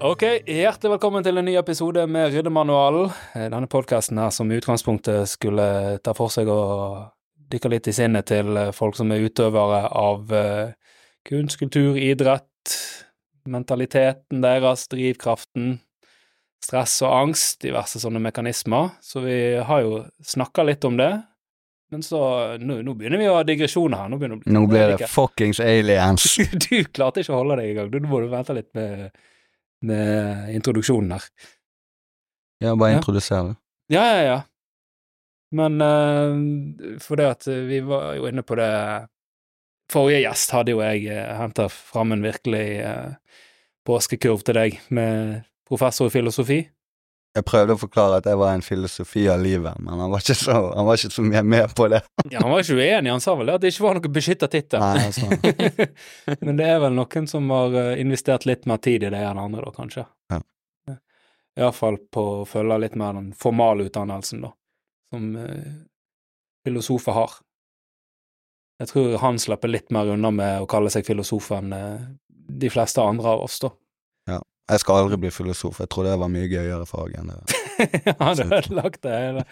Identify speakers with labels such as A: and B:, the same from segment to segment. A: Ok, Hjertelig velkommen til en ny episode med Ryddemanualen. Eh, Denne podkasten her som i utgangspunktet skulle ta for seg å dykke litt i sinnet til eh, folk som er utøvere av eh, kunst, kultur, idrett, mentaliteten deres, drivkraften, stress og angst, diverse sånne mekanismer. Så vi har jo snakka litt om det, men så Nå, nå begynner vi å ha digresjoner her. Nå, begynner
B: Nå blir det fuckings aliens.
A: du klarte ikke å holde deg i gang. Du må du vente litt med, med introduksjonen her.
B: Ja, bare
A: Ja.
B: introduser det.
A: Ja, ja, ja. Men eh, for det at vi var jo inne på det Forrige gjest hadde jo jeg uh, henta fram en virkelig eh, påskekurv til deg med professor i filosofi.
B: Jeg prøvde å forklare at jeg var en filosofi av livet, men han var ikke så, han var ikke så mye med på det.
A: Ja, Han var ikke uenig, han sa vel det at det ikke var noen beskytta tittel.
B: Nei, altså.
A: Men det er vel noen som har eh, investert litt mer tid i det enn andre, da, kanskje.
B: Ja.
A: Iallfall på å følge litt mer den formale utdannelsen, da, som eh, filosofer har. Jeg tror han slipper litt mer unna med å kalle seg filosof enn eh, de fleste andre av oss, da.
B: Jeg skal aldri bli filosof, jeg trodde det var mye gøyere fag enn det.
A: Han
B: Absolutt.
A: ødelagt det hele.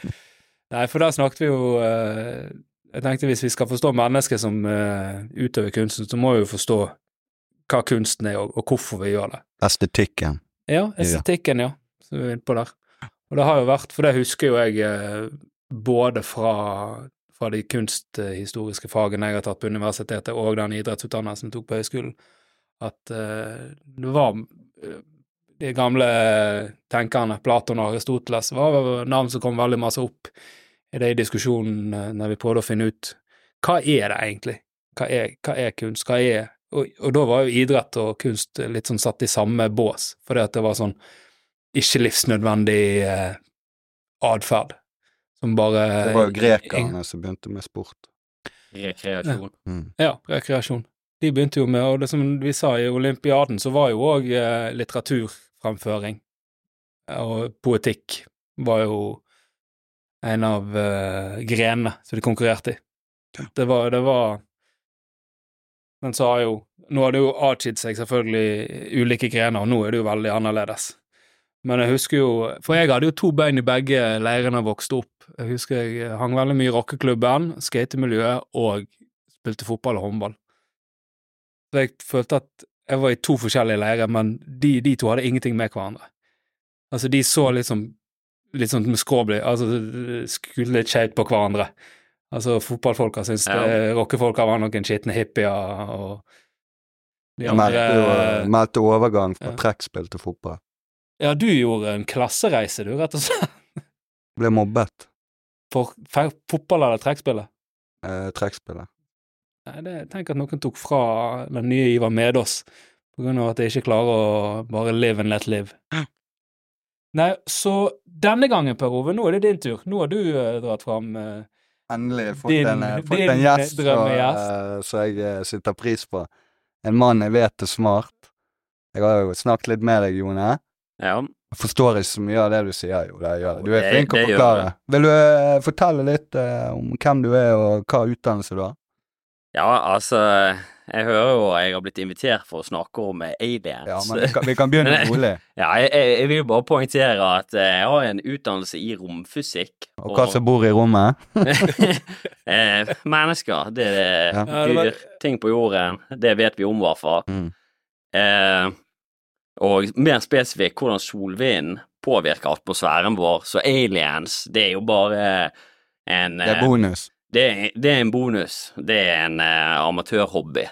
A: Nei, for der snakket vi jo eh, Jeg tenkte hvis vi skal forstå mennesket som eh, utøver kunsten, så må vi jo forstå hva kunsten er, og, og hvorfor vi gjør det.
B: Estetikken.
A: Ja, estetikken, ja. Så vi er inne på der. Og det har jo vært, for det husker jo jeg eh, både fra, fra de kunsthistoriske fagene jeg har tatt på universitetet, og den idrettsutdannelsen jeg tok på høyskolen, at eh, det var eh, de gamle eh, tenkerne, Platon og Aristoteles, var vel navn som kom veldig masse opp i det i diskusjonen eh, når vi prøvde å finne ut hva er det egentlig? Hva er, hva er kunst? Hva er og, og da var jo idrett og kunst litt sånn satt i samme bås, fordi at det var sånn ikke livsnødvendig eh, atferd som bare
B: Det var jo grekerne som begynte med sport.
C: Rekreasjon.
B: Mm.
A: Ja, rekreasjon. De begynte jo med, og det som vi sa i olympiaden, så var jo òg eh, litteraturfremføring og poetikk var jo en av eh, grenene som de konkurrerte i. Det var, det var Men så har jo Nå har det jo atskilt seg selvfølgelig ulike grener, og nå er det jo veldig annerledes. Men jeg husker jo For jeg hadde jo to bein i begge leirene jeg vokste opp. Jeg husker jeg eh, hang veldig mye i rockeklubben, skatemiljøet og spilte fotball og håndball. Så jeg følte at jeg var i to forskjellige leirer, men de, de to hadde ingenting med hverandre. Altså, de så liksom litt sånn med skråblikk, altså skulle litt skjevt på hverandre. Altså, fotballfolka syns
C: Ja.
A: det- rockefolka var noen skitne hippier, og de
B: Jeg meldte, jo- eh,
A: andre
B: meldte overgang fra
A: ja.
B: trekkspill til fotball.
A: Ja, du gjorde en klassereise, du, rett og slett.
B: Ble mobbet,
A: For fe- fotball eller trekkspillet.
B: eh, trekkspillet.
A: Nei, det, tenk at noen tok fra den nye Ivar Medås på grunn av at jeg ikke klarer å bare live and let live. Nei, så denne gangen, Per Ove, nå er det din tur. Nå har du eh, dratt fram eh,
B: Endelig fått
A: Din-
B: en, eh, fått
A: din
B: en gjest som
A: drømmegjest.
B: eh, som jeg eh, setter pris på. En mann jeg vet er smart. Jeg har jo snakket litt med deg, Jone.
C: Ja.
B: Jeg forstår ikke så mye av det du sier, jo. Det gjør jeg. Du er
C: Det-
B: flink å
C: det gjør
B: forklare. Vil du eh, fortelle litt eh, om hvem du er, og hva utdannelse du har?
C: ja, altså Jeg hører jo jeg har blitt invitert for å snakke om eh, aliens.
B: Ja, men vi kan, vi kan begynne
C: Men jeg-
B: rolig.
C: Ja, jeg, jeg jeg vil jo bare poengtere at eh, jeg har en utdannelse i romfysikk.
B: Og hva som bor i rommet?
C: eh, Mennesker. Det er
B: Ja.
A: Ja, det var-
C: dyr. Ting på jorden. Det vet vi om, i hvert fall.
B: Mm.
C: Eh, og mer spesifikt hvordan solvinden påvirker atmosfæren vår. Så aliens, det er jo bare en
B: Det
C: eh,
B: er bonus.
C: Det er, det er en bonus. Det er en eh, amatørhobby.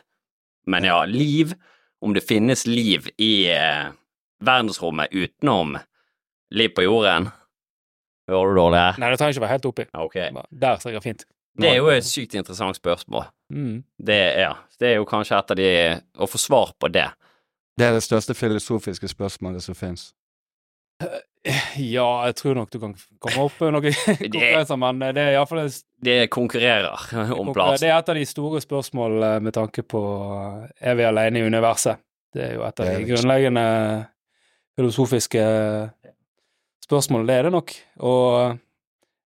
C: Men ja, liv Om det finnes liv i eh, verdensrommet utenom liv på jorden Hører du dårlig her?
A: Nei, det trenger ikke være helt oppi.
C: Ja, Ok.
A: Der ser jeg fint.
C: Det er jo et sykt interessant spørsmål.
A: Mm.
C: Det er, ja, det er jo kanskje et av de Å få svar på det.
B: Det er det største filosofiske spørsmålet som fins.
A: Ja, jeg tror nok du kan komme opp med noen konkurranser, men eh, det er iallfall en
C: Det konkurrerer om
A: Konkurre-
C: plass.
A: eh, Det er et av de store spørsmålene med tanke på eh, er vi alene i universet. Det er jo et av
B: Det er
A: de
B: det.
A: grunnleggende filosofiske spørsmålene. Det er det nok. Og eh,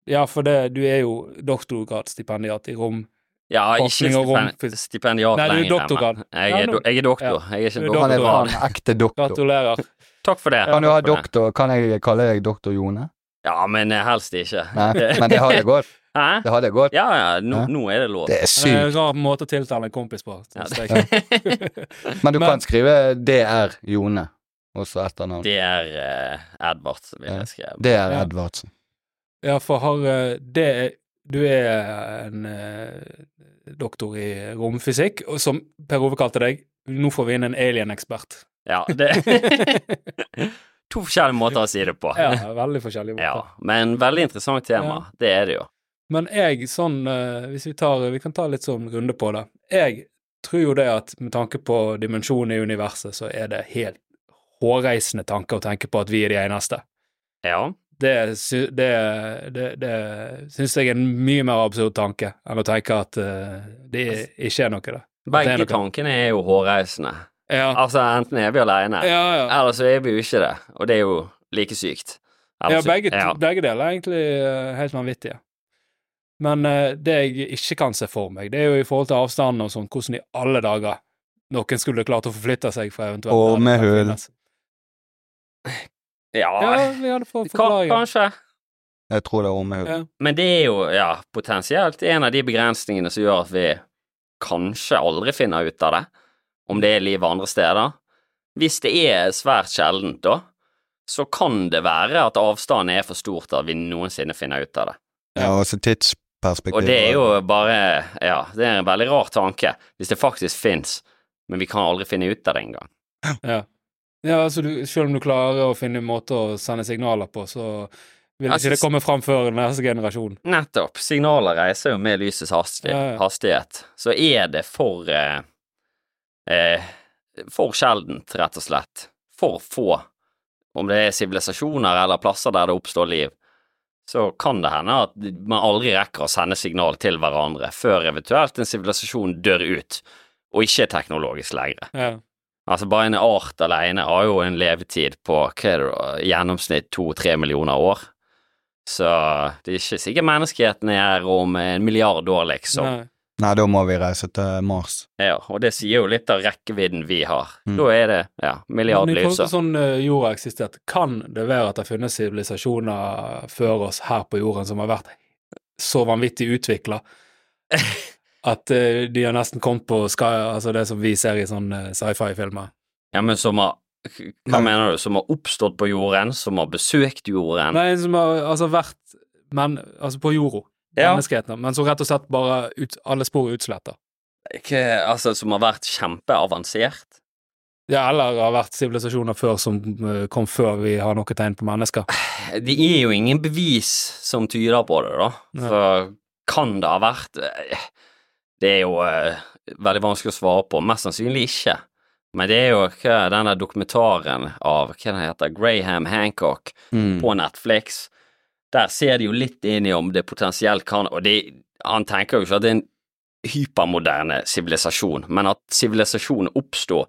A: ja, for det, du er jo doktorgradsstipendiat i rom.
C: Ja, ikke
A: forskning og rom-
C: stipend, stipendiat
A: Nei, du er
C: lenger.
A: doktorgrad.
C: men Jeg
A: Ja,
C: er,
A: nå-
C: do- jeg er doktor. Jeg er
A: Du er
C: ikke doktor.
B: Han er
A: Doktor.
B: faen ekte doktor.
A: Gratulerer.
C: Takk for det.
B: Kan du ha
C: Takk for det.
B: doktor, kan jeg kalle deg doktor Jone?
C: Ja, men eh, helst ikke.
B: Nei, men det hadde gått.
C: Hæ?
B: Det hadde gått.
C: Ja, ja, nå,
B: Hæ?
C: nå er det lov.
B: Det er
A: Det er
B: sykt.
A: en rar måte å tiltale en kompis på.
C: Ja,
A: synes
C: det-
A: jeg.
C: Eh,
B: Men du
A: Men-
B: kan skrive DR Jone, også etternavn.
C: Det er uh, Edvard, vil jeg skrive.
B: DR
A: Ja.
B: Edvardsen.
A: Ja, for har eh, det er- Du er en eh, doktor i romfysikk, og som Per Ove kalte deg, nå får vi inn en alien-ekspert.
C: Ja, det To forskjellige måter å si det på.
A: ja, veldig forskjellige
C: Ja,
A: måter.
C: men veldig interessant tema. Det er det jo.
A: Men jeg sånn eh, Hvis vi tar Vi kan ta litt sånn runde på det. Jeg tror jo det at med tanke på dimensjonen i universet, så er det helt hårreisende tanker å tenke på at vi er de eneste.
C: Ja.
A: det, sy- det, det, det syns jeg er en mye mer absurd tanke enn å tenke at eh, det ikke er noe der. At det er
C: Begge
A: noe.
C: tankene er jo hårreisende.
A: Ja,
C: Altså, enten er vi aleine,
A: ja. ja.
C: eller så er vi jo ikke det. Og det er jo like sykt.
A: ja
C: Eller så-
A: begge,
C: ja.
A: begge deler er egentlig eh, helt vanvittige. Men eh, det jeg ikke kan se for meg, det er jo i forhold til avstanden og sånn, hvordan i alle dager noen skulle klart å forflytte seg fra eventuelt
B: Og med høl.
A: Ja,
C: ja.
A: vi hadde fått
C: Ka-
A: forklaringer.
C: Kanskje.
B: Jeg tror det er Ormehud.
A: Ja.
C: Men det er jo ja, potensielt en av de begrensningene som gjør at vi kanskje aldri finner ut av det, om det er liv andre steder. Hvis det er svært sjeldent, da, så kan det være at avstanden er for stor til at vi noensinne finner ut av det.
B: Ja, og så tidsperspektiv.
C: Og det er jo bare Ja, det er en veldig rar tanke, hvis det faktisk fins, men vi kan aldri finne ut av det engang.
A: Ja. ja, altså du, selv om du klarer å finne måter å sende signaler på, så vil ikke
C: Jeg
A: det
C: synes-
A: komme fram før neste generasjon.
C: Nettopp. Signaler reiser jo med lysets hasti-
A: Ja, ja.
C: hastighet. Så er det for eh, eh, For sjeldent, rett og slett. For få. Om det er sivilisasjoner eller plasser der det oppstår liv, så kan det hende at man aldri rekker å sende signal til hverandre før eventuelt en sivilisasjon dør ut, og ikke er teknologisk lenger.
A: Ja.
C: Altså, bare en art alene har jo en levetid på hva er det, da, i gjennomsnitt to-tre millioner år. Så det er ikke sikkert menneskeheten er her om en milliard år, liksom.
A: Nei.
B: Nei, da må vi reise til Mars.
C: Ja, og det sier jo litt av rekkevidden vi har.
B: Mm.
C: Da er det ja, milliard
A: Men i forhold til
C: lysår.
A: sånn eh, jorda har eksistert, kan det være at det finnes sivilisasjoner før oss her på jorden som har vært så vanvittig utvikla at eh, de har nesten kommet på sky, altså det som vi ser i sånne sci-fi-filmer?
C: Ja, men som har Hva
B: Nei.
C: mener du? Som har oppstått på jorden? Som har besøkt jorden?
A: Nei, som har altså vært men, altså på jorda,
C: Ja,
A: menneskeheten, men som rett og slett bare ut, alle spor er utsletta.
C: ikke, altså, som har vært kjempeavansert?
A: Ja, eller har vært sivilisasjoner før som eh, kom før vi har noe tegn på mennesker.
C: Ah. Det er jo ingen bevis som tyder på det, da.
A: Nei.
C: Så kan det ha vært eh, Det er jo eh, veldig vanskelig å svare på. Mest sannsynlig ikke. Men det er jo hva, denne dokumentaren av hva den heter, Graham Hancock
B: Mm.
C: på Netflix. Der ser de jo litt inn i om det potensielt kan Og det, han tenker jo ikke at det er en hypermoderne sivilisasjon, men at sivilisasjonen oppstår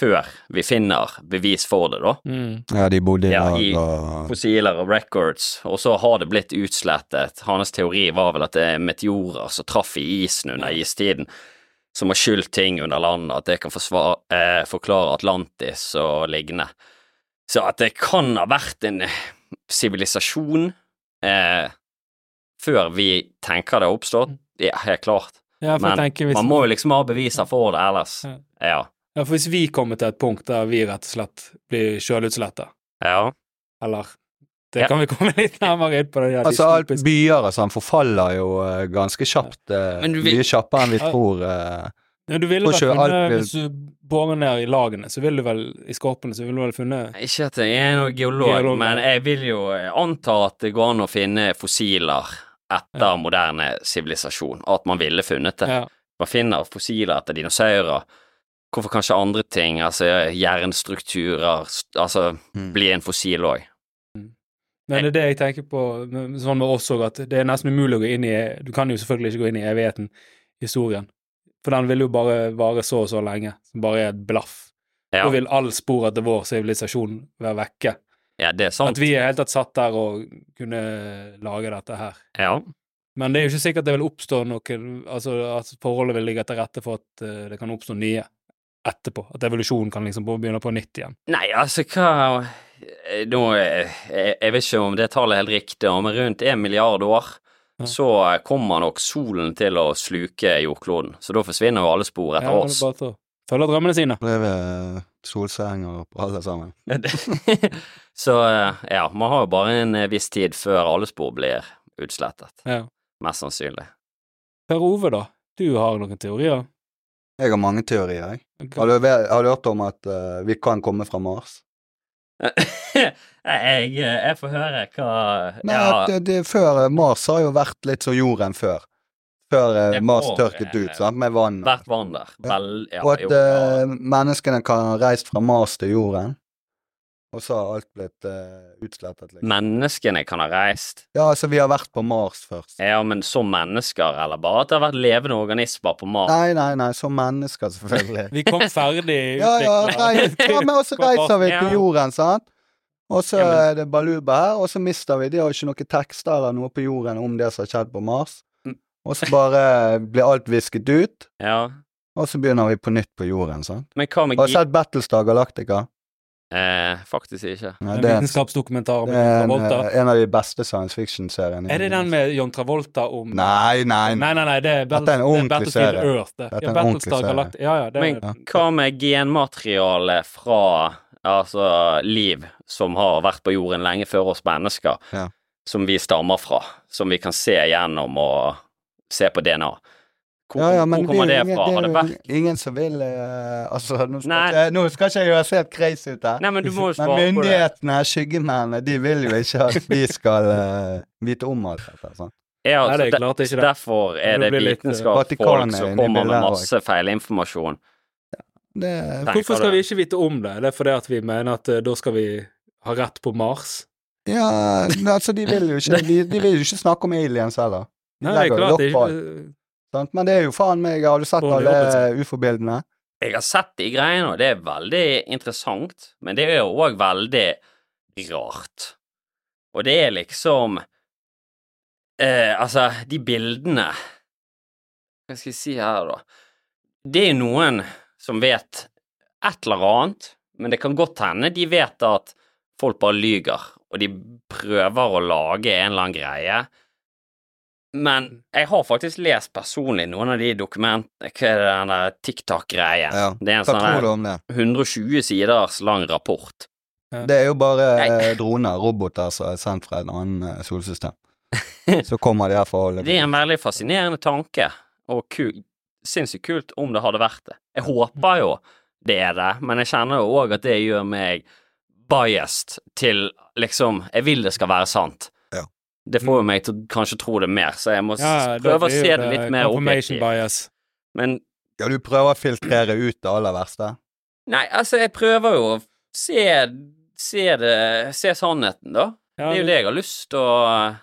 C: før vi finner bevis for det, da
A: Mm.
B: Ja, de bodde i
C: Ja,
B: lag
C: i-
B: og
C: fossiler og records, og så har det blitt utslettet. Hans teori var vel at det er meteorer som traff i isen under istiden, som har skylt ting under landet, at det kan forsvare, eh, forklare Atlantis og lignende. Så at det kan ha vært en eh, sivilisasjon eh, før vi tenker det har oppstått, ja, helt klart.
A: Ja, for
C: Men
A: jeg tenker Mm. hvis
C: Man må jo liksom ha beviser for det ellers.
A: Ja.
C: Ja.
A: Ja, for hvis vi kommer til et punkt der vi rett og slett blir sjølutsletta,
C: Ja.
A: eller Det
C: Ja.
A: kan vi komme litt nærmere inn på. Det, ja,
B: Altså, alt byer og sånn forfaller jo eh, ganske kjapt. eh,
C: Men du vil-
B: Mye kjappere enn vi
A: Ja.
B: tror. eh.
A: ja, du ville
B: og
A: vel
B: sjø-
A: funnet,
B: alt vil-
A: Hvis du borer ned i lagene, så ville du vel i skorpene, så ville du vel funnet
C: Ikke at jeg er noen geolog,
A: Geolog, ja.
C: men jeg vil jo eh, anta at det går an å finne fossiler etter
A: Ja.
C: moderne sivilisasjon, at man ville funnet det.
A: ja.
C: Man finner fossiler etter dinosaurer. Hvorfor kanskje andre ting, altså jernstrukturer, s- altså
B: Mm.
C: bli en fossil òg?
A: Men det er det jeg tenker på men sånn med oss òg, at det er nesten umulig å gå inn i Du kan jo selvfølgelig ikke gå inn i evigheten, historien, for den vil jo bare vare så og så lenge, som bare er et blaff.
C: Ja.
A: Da vil all spor etter vår sivilisasjon være vekke.
C: ja, det er
A: At
C: sant.
A: vi er helt tatt satt der og kunne lage dette her.
C: Ja.
A: Men det er jo ikke sikkert det vil oppstå noen Altså at forholdet vil ligge til rette for at eh, det kan oppstå nye. etterpå. At evolusjonen kan liksom begynne på nytt igjen.
C: Nei, altså, hva Nå, eh, jeg, jeg vet ikke om det tallet er helt riktig, om rundt en milliard år
A: Ja.
C: så eh, kommer nok solen til å sluke jordkloden, så da forsvinner jo alle spor etter
A: Ja, det er
C: oss.
A: bare til å følge drømmene sine.
B: Det er ved solsenger eh, og alle sammen.
C: så eh, ja, man har jo bare en eh, viss tid før alle spor blir utslettet,
A: Ja.
C: mest sannsynlig.
A: Per Ove, da? Du har noen teorier?
B: Jeg har mange teorier, jeg.
A: Hva-
B: Har du, ve- har du hørt om at eh, vi kan komme fra Mars?
C: Jeg, får høre hva
B: Nei, at det, det, før eh, Mars har jo vært litt som jorden før. Før eh,
C: Det
B: Mars
C: får,
B: tørket
C: eh,
B: ut, sant, med vann.
C: Hvert vann der.
B: Ja.
C: Vel, ja,
B: og at
C: jo, ja.
B: eh, menneskene kan ha reist fra Mars til jorden. Og så har alt blitt eh, utslettet. Liksom.
C: Menneskene kan ha reist.
B: Ja, altså, vi har vært på Mars først.
C: Ja, men som mennesker, eller bare at det har vært levende organismer på Mars?
B: Nei, nei, nei, som mennesker, selvfølgelig.
A: Vi kom ferdig
B: ja, ja, altså, reis, ja, men også reiser vi
C: Ja.
B: til jorden, sant? Og så
C: Ja, men-
B: er det baluba her, og så mister vi De har jo ikke noen tekster eller noe på jorden om det som har skjedd på Mars.
C: Mm.
B: Og så bare blir alt visket ut,
C: Ja.
B: og så begynner vi på nytt på jorden, sant?
C: Men hva med
B: Har du
C: gi...
B: sett Battlestar Galactica?
C: Eh, faktisk ikke.
B: Nei,
A: En
B: det er en,
A: vitenskapsdokumentar om
B: det er
A: John
B: en,
A: Travolta.
B: eh, en av de beste science fiction-seriene. i
A: Er det den
B: verden.
A: med John Travolta om
B: Nei, nei, nei.
A: Nei, nei, nei, det er, Battle,
B: Dette er en
A: det er
B: ordentlig
A: Battlefield
B: serie.
A: Earth. Det.
B: Dette er
A: Ja,
B: en ordentlig
A: Battlestar
B: serie.
A: Galactica. Ja, ja, det
C: Men
A: er
C: hva med genmateriale fra altså liv som har vært på jorden lenge før oss mennesker,
B: Ja.
C: som vi stammer fra, som vi kan se gjennom og se på DNA? Hvor,
B: Ja, ja, men
C: hvor kommer
B: er
C: det
B: jo ingen-
C: fra? Har det
B: er jo
C: vært
B: Ingen som vil eh, Altså, nå skal,
C: Nei.
B: ikke, nå skal ikke jeg høres helt crazy ut her.
C: Nei, men du må jo
B: Men
C: svare på det.
B: myndighetene, skyggemennene, de vil jo ikke at vi skal eh, vite om alt dette. sant?
C: Ja,
A: Nei,
C: altså,
A: det er klart ikke det.
C: Derfor er
A: Du
C: det
A: blir litt, eh,
C: vitenskapsfolk
B: Vatikanet
C: som
B: inni
C: kommer med
B: bildet her
C: masse feilinformasjon.
B: Det,
A: Hvorfor
C: Tenker
A: skal
C: du-
A: vi ikke vite om det? Det er fordi at vi mener at eh, da skal vi ha rett på Mars.
B: ja, men altså, de vil jo ikke, de, de vil jo ikke snakke om aliens heller.
A: Nei, det er
B: legger jo
A: klart det er
B: lokk på
A: ikke
B: Sant? Men det er jo faen meg Har du sett
A: Dårlig
B: alle
A: jobbet.
B: ufo-bildene?
C: Jeg har sett de greiene, og det er veldig interessant, men det er jo òg veldig rart. Og det er liksom eh, Altså, de bildene Hva skal jeg si her, da? Det er noen som vet et eller annet, men det kan godt hende de vet at folk bare lyger, og de prøver å lage en eller annen greie. Men
B: Mm.
C: jeg har faktisk lest personlig noen av de dokumentene Hva er det den der TikTok-greien?
B: Ja.
C: Det er en
B: Hva
C: sånn
B: tror
C: der
B: du om det?
C: 120 siders lang rapport.
B: Det er jo bare
C: Nei.
B: eh, droner, roboter, som er sendt fra et annet eh, solsystem. Så kommer de her for å holde
C: Det er en veldig fascinerende tanke, og ku- sinnssykt kult om det hadde vært det. Jeg håper jo det er det, men jeg kjenner jo òg at det gjør meg biased til liksom Jeg vil det skal være sant.
B: Ja.
C: Det får jo meg til å kanskje tro det mer, så jeg må s-
A: Mm. Ja, da
C: prøve å
A: blir jo
C: se det litt mer
A: Confirmation
C: objektivt.
A: bias.
C: Men
B: Ja, du prøver å filtrere ut det aller verste.
C: nei, altså, jeg prøver jo å se, se det Se sannheten, da.
A: Ja,
C: Det er jo det jeg har lyst til å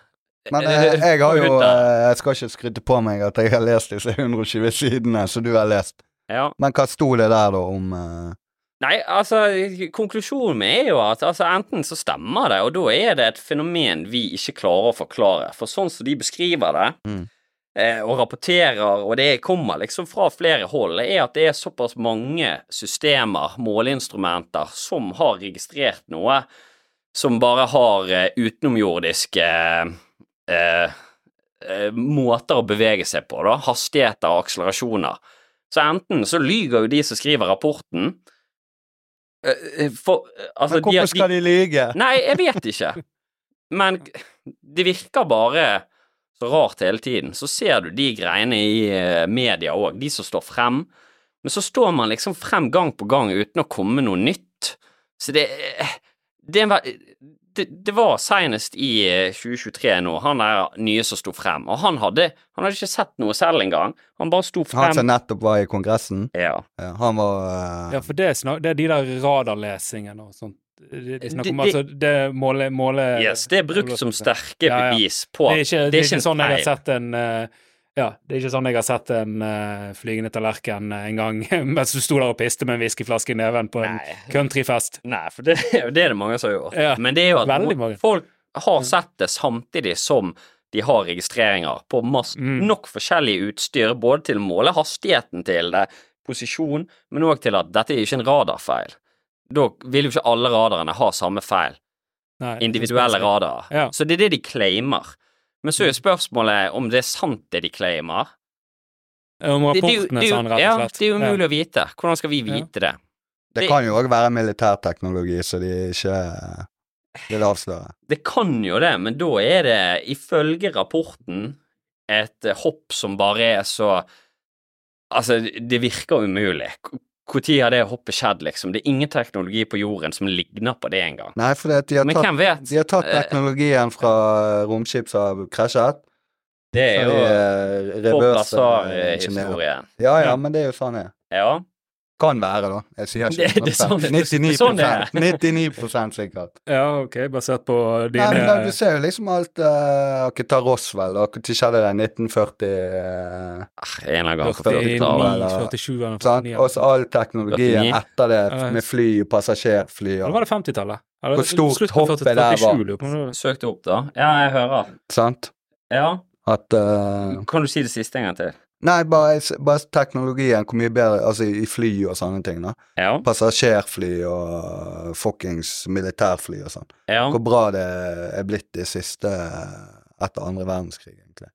B: Men eh, jeg har jo
C: Rundt
B: eh,
C: der.
B: Jeg skal ikke skryte på meg at jeg har lest disse 120 sidene som du har lest.
C: Ja.
B: Men hva sto det der, da, om eh,
C: Nei, altså, konklusjonen min er jo at altså, enten så stemmer det, og da er det et fenomen vi ikke klarer å forklare. For sånn som de beskriver det,
B: Mm.
C: eh, og rapporterer, og det kommer liksom fra flere hold, er at det er såpass mange systemer, måleinstrumenter, som har registrert noe som bare har eh, utenomjordiske eh, eh, måter å bevege seg på, da. Hastigheter og akselerasjoner. Så enten så lyger jo de som skriver rapporten eh, eh, for, eh, altså,
B: Men hvorfor skal de lyge?
C: Nei, jeg vet ikke. Men det virker bare så rart hele tiden. Så ser du de greiene i eh, media òg, de som står frem. Men så står man liksom frem gang på gang uten å komme noe nytt. Så det eh, Det, er en ve- det, det var senest i eh, 2023 nå, han der nye som sto frem. Og han hadde, han hadde ikke sett noe selv engang. Han bare sto frem.
B: Han som nettopp var i Kongressen,
C: ja.
B: eh, han var eh,
A: Ja, for det er, snak, det er de der radarlesingene og sånt. Det, det, snakker om,
C: Det-
A: altså, det måle, måle
C: Yes, det er brukt som sterke
A: Ja, ja.
C: bevis på
A: Det er ikke, det er ikke
C: en
A: sånn jeg har
C: feil.
A: sett en eh, ja, det er ikke sånn jeg har sett en eh, flygende tallerken eh, en gang mens du sto der og piste med en whiskyflaske i neven på en
C: Nei.
A: countryfest.
C: Nei, for det, det er det mange som har gjort.
A: Ja,
C: Men det er jo at
A: veldig mange. Mm.
C: folk har sett det samtidig som de har registreringer på mass,
A: Mm.
C: nok forskjellig utstyr, både til å måle hastigheten til det, posisjon, men òg til at dette er ikke en radarfeil. Da vil jo ikke alle radarene ha samme feil.
A: Nei,
C: Individuelle
A: spesifikt.
C: radarer.
A: Ja. Mm.
C: Så det er det de claimer. Men så er jo spørsmålet om det er sant, det de claimer.
A: Om
C: Det, det, er jo-
A: rapportene,
C: det,
A: sa
C: er jo-
A: han sånn, rett
C: ja,
A: og slett.
C: det er jo umulig å vite. Hvordan skal vi
A: Ja.
C: vite det?
B: Det
C: Det-
B: kan jo òg være militærteknologi, så de ikke eh, vil avsløre.
C: Det kan jo det, men da er det ifølge rapporten et eh, hopp som bare er så Altså, det virker umulig. Når har det hoppet skjedd, liksom? Det er ingen teknologi på jorden som ligner på det engang.
B: Nei, for det, at de, har
C: Men
B: tatt,
C: hvem vet?
B: de har tatt
C: Eh,
B: teknologien fra romskip som har krasjet.
C: Det
B: så
C: er
B: de,
C: jo
B: eh,
C: Bob
B: reverse, eh, ingeniører.
C: Lazar-historien.
B: Ja, ja,
A: Ja.
B: men det er jo sånn det er.
C: Ja.
B: Kan være, da. Jeg sier
C: Det-
B: ikke
C: det er sånn-
B: 99
C: det er sånn det
B: 99 sikkert.
A: Ja, ok, basert på
B: Nei,
A: dine
B: men da, du ser jo liksom alt uh, Ok, ta Roswell, da. Når skjedde det? 1940 eh,
C: Ah, En eller annen gang
A: 49,
C: 40-tallet.
A: 47 eller
B: sant?
A: 49.
B: Sånn, Og så all teknologien
C: 49.
B: etter det,
A: Ja, ja.
B: med fly, passasjerfly
A: Eller
B: og
A: var det 50-tallet? Eller
B: Hvor stort
A: slutten av
B: hoppet der var.
A: 47, lurer jeg på om det var.
C: Søk det opp, da. Ja, jeg hører.
B: Sant?
C: Ja.
B: At eh,
C: Kan du si det siste en gang til?
B: Nei, bare, bare teknologien, hvor mye bedre Altså i fly og sånne ting, da.
C: Ja.
B: Passasjerfly og fuckings militærfly og sånn.
C: ja.
B: Hvor bra det er blitt de siste eh, etter andre verdenskrig, egentlig.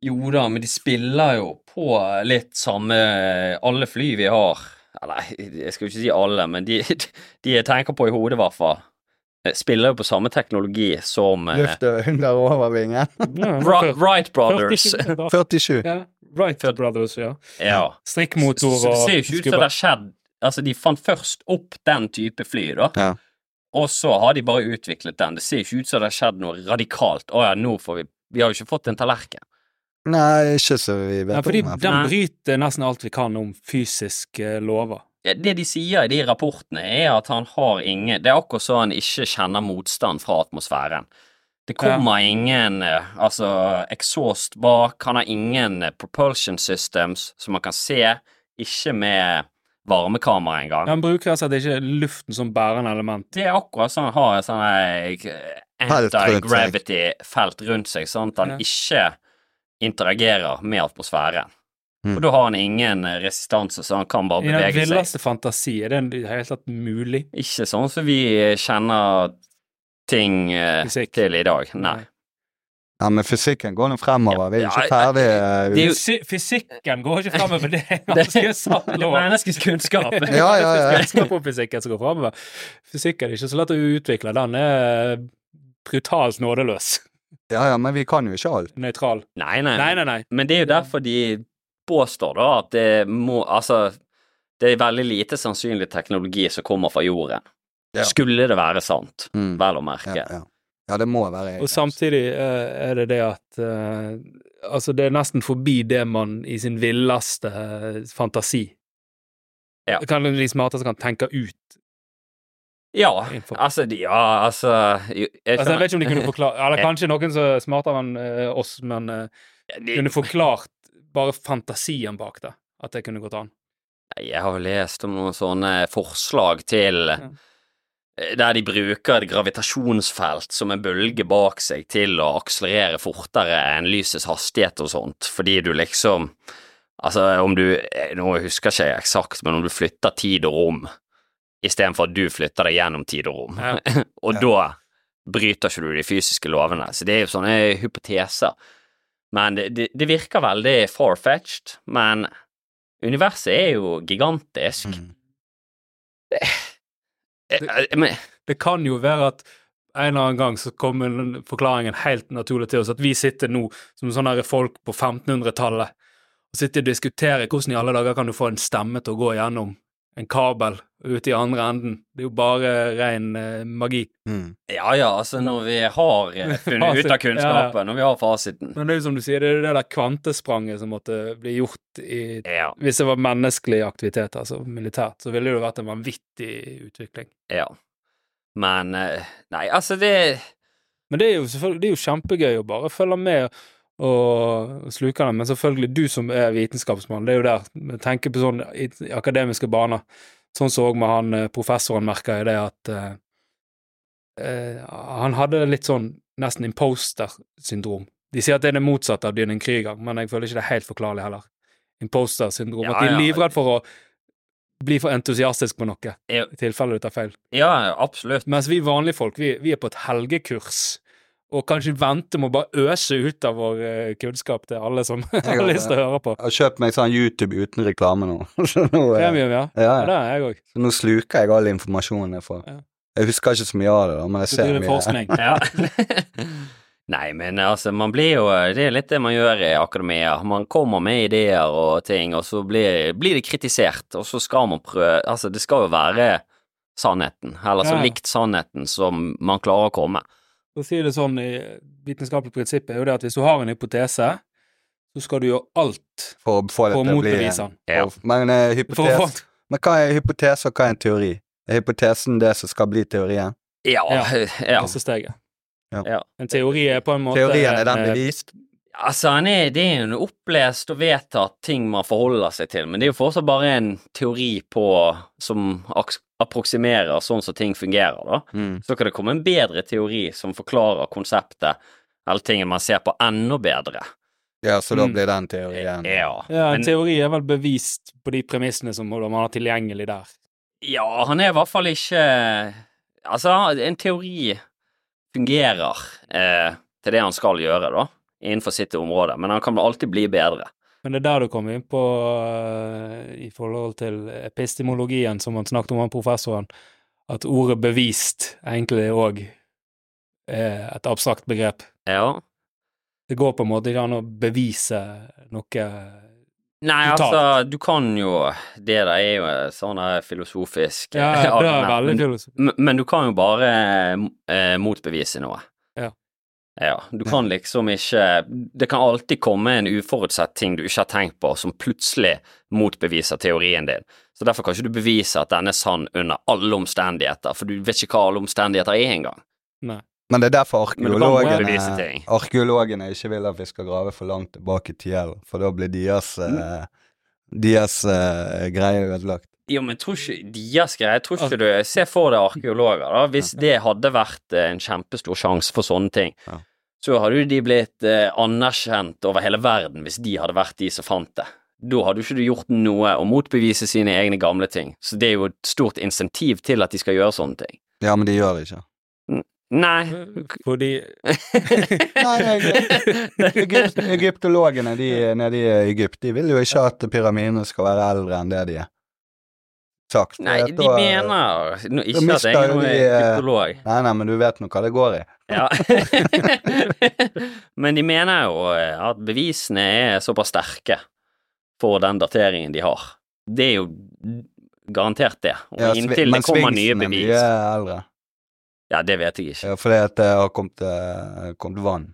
C: Jo da, men de spiller jo på litt samme eh, Alle fly vi har Eller, jeg skal jo ikke si alle, men de, de jeg tenker på i hodet, i hvert fall, eh, spiller jo på samme teknologi som eh,
B: Luft under overvingen.
A: Ja, det var
C: Wri- Wright Brothers.
A: 47 da.
B: 47.
A: Ja, Wright Brothers, ja.
C: Ja.
A: Strikkmotor
C: Så- så
A: og
C: Det ser jo ikke ut som det har skjedd Altså, de fant først opp den type fly, da.
B: Ja.
C: Og så har de bare utviklet den. Det ser jo ikke ut som det har skjedd noe radikalt. Å ja, nå får vi Vi har jo ikke fått en tallerken.
B: Nei, ikke så vi vet
A: Ja, fordi
B: om. i hvert fall.
A: den
C: Nei.
A: bryter nesten alt vi kan om fysiske lover.
C: Ja, Det de sier i de rapportene, er at han har ingen Det er akkurat så han ikke kjenner motstand fra atmosfæren. Det kommer ingen eh, altså exhaust bak, han har ingen eh, propulsion systems som man kan se, ikke med varmekamera engang.
A: Han bruker altså at det ikke er luften som bærende element.
C: Det er akkurat sånn han har en sånn eh,
B: Felt rundt seg.
C: anti-gravity-felt rundt seg, sånn at han
A: Ja.
C: ikke interagerer med atmosfæren.
B: Mm.
C: Og da har han ingen eh, resistanse, så han kan bare
A: I den
C: bevege seg.
A: villeste fantasi, er det i det hele tatt mulig?
C: Ikke sånn som vi eh, kjenner ting eh,
A: Fysikk.
C: til i dag, nei.
B: Ja, men fysikken går nå fremover. Vi er jo
C: Ja,
B: ikke
C: ja,
B: ferdig.
C: det er jo-
A: Fysi Fysikken går ikke framover, det er ganske sant.
C: Det er
A: lov.
C: menneskets kunnskap.
A: Det er
B: Ja, ja, ja.
A: faktisk kunnskap om fysikken som går framover. Fysikken er ikke så lett å utvikle, den er brutalt nådeløs.
B: Ja, ja, men vi kan jo ikke alt.
A: Nøytral.
C: Nei, nei.
A: Nei, nei, nei.
C: Men det er jo derfor de påstår da at det må Altså, det er veldig lite sannsynlig teknologi som kommer fra jorden.
B: Ja.
C: Skulle det være sant,
B: Mm.
C: vel å
B: Ja,
C: merke.
B: ja. ja, det må være
A: Og
B: egentlig.
A: samtidig eh, er det det at eh, Altså, det er nesten forbi det man i sin villeste eh, fantasi
C: Ja.
A: Det kan De smarteste kan tenke ut
C: Ja,
A: info.
C: altså de, Ja, altså jo, jeg
A: Altså, jeg
C: skjønner-
A: vet ikke om de kunne forklare Eller kanskje noen som er smartere enn eh, oss, men eh,
C: De-
A: kunne forklart bare fantasien bak det. At det kunne gått an.
C: Nei, Jeg har jo lest om noen sånne forslag til eh,
A: Ja.
C: Der de bruker et gravitasjonsfelt som en bølge bak seg til å akselerere fortere enn lysets hastighet og sånt, fordi du liksom Altså, om du eh, Nå husker ikke jeg eksakt, men om du flytter tid og rom istedenfor at du flytter deg gjennom tid og rom,
A: Ja.
C: og da bryter ikke du de fysiske lovene. Så det er jo sånne hypoteser. Men det, det, det virker veldig far-fetched, men universet er jo gigantisk.
B: Mm.
C: Eh, eh, Men
A: Det kan jo være at en eller annen gang så kommer den forklaringen helt naturlig til oss, at vi sitter nå som sånne her folk på 1500-tallet og sitter og diskuterer hvordan i alle dager kan du få en stemme til å gå gjennom en kabel ute i andre enden. Det er jo bare ren eh, magi.
B: Mm.
C: Ja ja, altså når vi har eh, funnet ut av
A: Fasit,
C: kunnskapen, når vi har fasiten
A: Men det er jo som du sier, det er det der kvantespranget som måtte bli gjort i
C: Ja.
A: Hvis det var menneskelig aktivitet, altså militært, så ville det jo vært en vanvittig utvikling.
C: ja. Men eh, Nei, altså det
A: Men det er jo, selvfølgelig- det er jo kjempegøy å bare følge med og sluke det. Men selvfølgelig, du som er vitenskapsmann, det er jo der Tenker på sånn i i akademiske baner. Sånn så òg med han eh, professoren, merker jeg det, at eh, eh, han hadde litt sånn nesten imposter-syndrom. De sier at det er det motsatte av Dynan Krüger, men jeg føler ikke det er helt forklarlig heller. Imposter-syndrom.
C: Ja,
A: at de er
C: ja.
A: livredd for å bli for entusiastisk på noe,
C: Ja.
A: i tilfelle du tar feil.
C: Ja, absolutt.
A: Mens vi vanlige folk, vi, vi er på et helgekurs, og kanskje venter med å bare øse ut av vår eh, kunnskap til alle som har
B: har
A: lyst til å høre på.
B: Jeg har kjøpt meg sånn YouTube uten reklame nå. så nå, eh,
A: Premium, ja.
B: ja,
A: ja.
B: ja.
A: Det er jeg òg.
B: Så nå sluker jeg all informasjonen jeg får.
A: Ja.
B: Jeg husker ikke så mye av det, da, men jeg
A: Du
B: ser
A: driver
B: mye.
A: forskning.
C: Ja. Nei, men altså, man blir jo Det er litt det man gjør i akademia. Man kommer med ideer og ting, og så blir, blir det kritisert, og så skal man prøve Altså, det skal jo være sannheten, eller så
A: Ja.
C: likt sannheten som man klarer å komme.
A: For å si det sånn, i vitenskapelig prinsipp er jo det at hvis du har en hypotese, så skal du gjøre alt
B: For å få
A: for
B: det
A: å
B: til å bli
A: motbevise den.
C: Ja.
B: Men, eh,
A: For å
B: hypotes,
A: få-
B: men hva er hypotese, og hva er en teori? Er hypotesen det som skal bli teorien?
C: Ja.
A: Ja.
C: ja.
A: Neste steget.
B: Ja.
C: Ja.
A: En teori er på en måte
B: Teorien er den
A: eh,
B: bevist?
C: Altså, han er, det er jo en opplest og vedtatt ting man forholder seg til, men det er jo fortsatt bare en teori på som aks- approksimerer sånn som ting fungerer, da.
B: Mm.
C: så kan det komme en bedre teori som forklarer konseptet, eller ting man ser på enda bedre.
B: Ja, så da
A: Mm.
B: blir den teorien
C: Ja,
A: Ja, en
C: men,
A: teori er vel bevist på de premissene som man har tilgjengelig der.
C: ja han er i hvert fall ikke Altså, en teori fungerer eh, til det han skal gjøre, da, innenfor sitt område, men han kan alltid bli bedre.
A: Men det er der du kommer inn på eh, i forhold til epistemologien som han snakket om, han professoren, at ordet bevist egentlig òg er et abstrakt begrep.
C: Ja.
A: Det går på en måte ikke an å bevise noe
C: Nei,
A: Totalt.
C: altså, du kan jo Det der er jo et sånn der filosofisk
A: Ja,
C: eh,
A: det er
C: argument,
A: veldig
C: men-
A: filosofi.
C: Men, men du kan jo bare eh, motbevise noe.
A: Ja.
C: Ja, du kan liksom ikke Det kan alltid komme en uforutsett ting du ikke har tenkt på, som plutselig motbeviser teorien din. Så derfor kan ikke du bevise at den er sann under alle omstendigheter, for du vet ikke hva alle omstendigheter er engang.
A: Nei.
B: Men det er derfor
C: Men du kan motbevise
B: arkeologene,
C: ting.
B: arkeologene ikke vil at vi skal grave for langt tilbake i tida, for da blir deres,
C: Mm.
B: eh, deres eh, greie ødelagt.
C: Jo, men tror ikke deres greie tror ikke du, Se for deg arkeologer, da. Hvis det hadde vært eh, en kjempestor sjanse for sånne ting,
B: Ja.
C: så hadde jo de blitt eh, anerkjent over hele verden hvis de hadde vært de som fant det. Da hadde jo ikke du gjort noe å motbevise sine egne gamle ting. Så det er jo et stort insentiv til at de skal gjøre sånne ting.
B: Ja, men de gjør det ikke.
C: Nei.
A: Fordi
B: Nei, Egypt, Egyptologene de, nede i Egypt de vil jo ikke at pyramidene skal være eldre enn det de er. Sagt. for
C: Nei,
B: at
C: de
B: da-
C: mener nå, ikke at
B: mister
C: jeg er
B: jo
C: noen
B: de, eh,
C: kryptolog.
B: Nei, nei, men du vet nå hva det går i.
C: Ja. Men de mener jo eh, at bevisene er såpass sterke for den dateringen de har. Det er jo garantert det. Og
B: Ja, svi-
C: inntil det
B: men
C: kommer nye
B: Sphinxen er
C: bevis.
B: mye eldre.
C: Ja, det vet jeg ikke.
B: Ja, fordi at det har kommet, eh, kommet vann.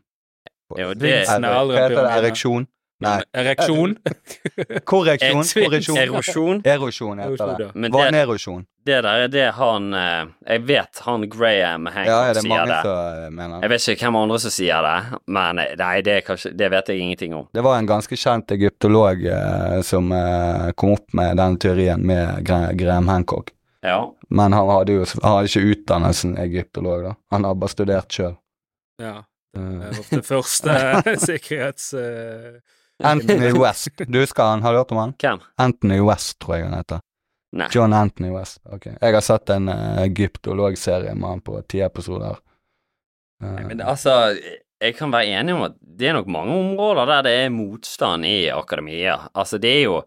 C: Jo, det,
A: Sphinxen er
B: Hva
A: eldre enn
B: heter det?
A: pyramiden.
B: Ereksjon? Nei,
A: Ereksjon?
B: korreksjon.
C: Et-
B: Korreksjon.
C: erosjon.
B: Erosjon heter det.
A: Ja,
C: Men det,
B: Vannerosjon.
C: det der er det han eh, Jeg vet han Graham
B: Ja, er
C: Hancock
B: det
C: sier
B: mange
C: det.
B: som eh, mener det?
C: Jeg vet ikke hvem andre som sier det, men eh, nei, det, er kanskje, det vet jeg ingenting om.
B: Det var en ganske kjent egyptolog eh, som eh, kom opp med den teorien med Gra- Graham Hancock.
C: Ja.
B: Men han hadde jo han hadde ikke utdannelsen egyptolog, da. Han har bare studert Eh, sjøl.
A: det er ofte første sikkerhets... eh,
B: Anthony West. Du husker han? Har du hørt om han?
C: Hvem?
B: Anthony West, tror jeg han heter.
C: Nei.
B: John Anthony West. Ok. Jeg har sett en eh, egyptologserie med han på ti episoder. Eh,
C: Nei, Men det- altså, jeg kan være enig om at det er nok mange områder der det er motstand i akademia. Altså, det er jo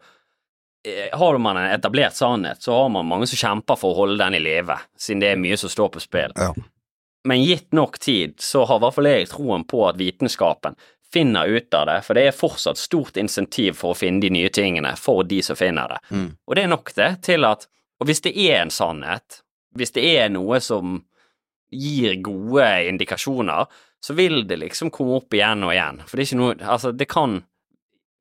C: eh, Har man en etablert sannhet, så har man mange som kjemper for å holde den i live, siden det er mye som står på spill.
B: Ja.
C: Men gitt nok tid, så har i hvert fall jeg troen på at vitenskapen finner ut av det, for det er fortsatt stort insentiv for å finne de nye tingene for de som finner det.
B: Mm.
C: Og det er nok det til at Og hvis det er en sannhet, hvis det er noe som gir gode indikasjoner, så vil det liksom komme opp igjen og igjen. For det er ikke noe Altså, det kan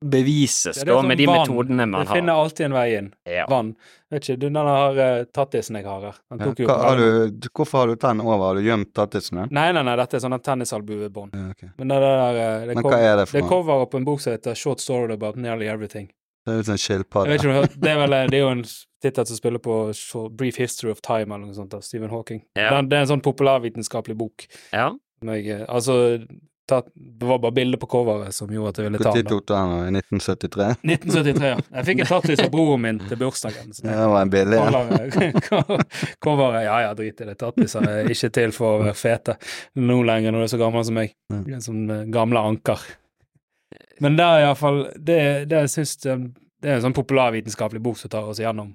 C: bevises,
A: det er
C: da,
A: som
C: med de
A: vann.
C: metodene man
A: Det finner
C: har.
A: alltid en vei inn.
C: Ja.
A: Vann. Vet ikke, du, den har eh, tattisen jeg har her. Den
B: Ja,
A: tok jo
B: hva, har du, hvorfor har du tenn over? Har du gjemt tattisen din?
A: Nei, nei, nei, dette er sånne tennisalbuebånd.
B: Ja, ok.
A: Men det der eh, det
B: Men hva er det for
A: Det er
B: noe?
A: cover på en bok som heter Short Story About Nearly Everything.
B: Det er sånn ut som en
A: Jeg vet
B: skilpadde.
A: ikke om du har hørt, Det er vel eh, det er jo en tittel som spiller på Short- Brief History of Time eller noe sånt av Stephen Hawking.
C: Ja.
A: Den, det er en sånn populærvitenskapelig bok.
C: ja.
A: som jeg, eh, altså, tatt, det var bare bildet på coveret som gjorde at jeg ville ta
B: Når
A: den. da.
B: tok du den? da? I 1973?
A: 1973, ja. Jeg fikk en tattis av broren min til bursdagen. Så
B: Ja,
A: jeg
B: det var en billig en.
A: Coveret, coveret Ja ja, drit i det. Tattiser er ikke til for å være fete nå lenger når du er så gammel som meg. Som eh, gamle anker. Men det er iallfall Det, det jeg syns eh, det er en sånn populærvitenskapelig bok som tar oss gjennom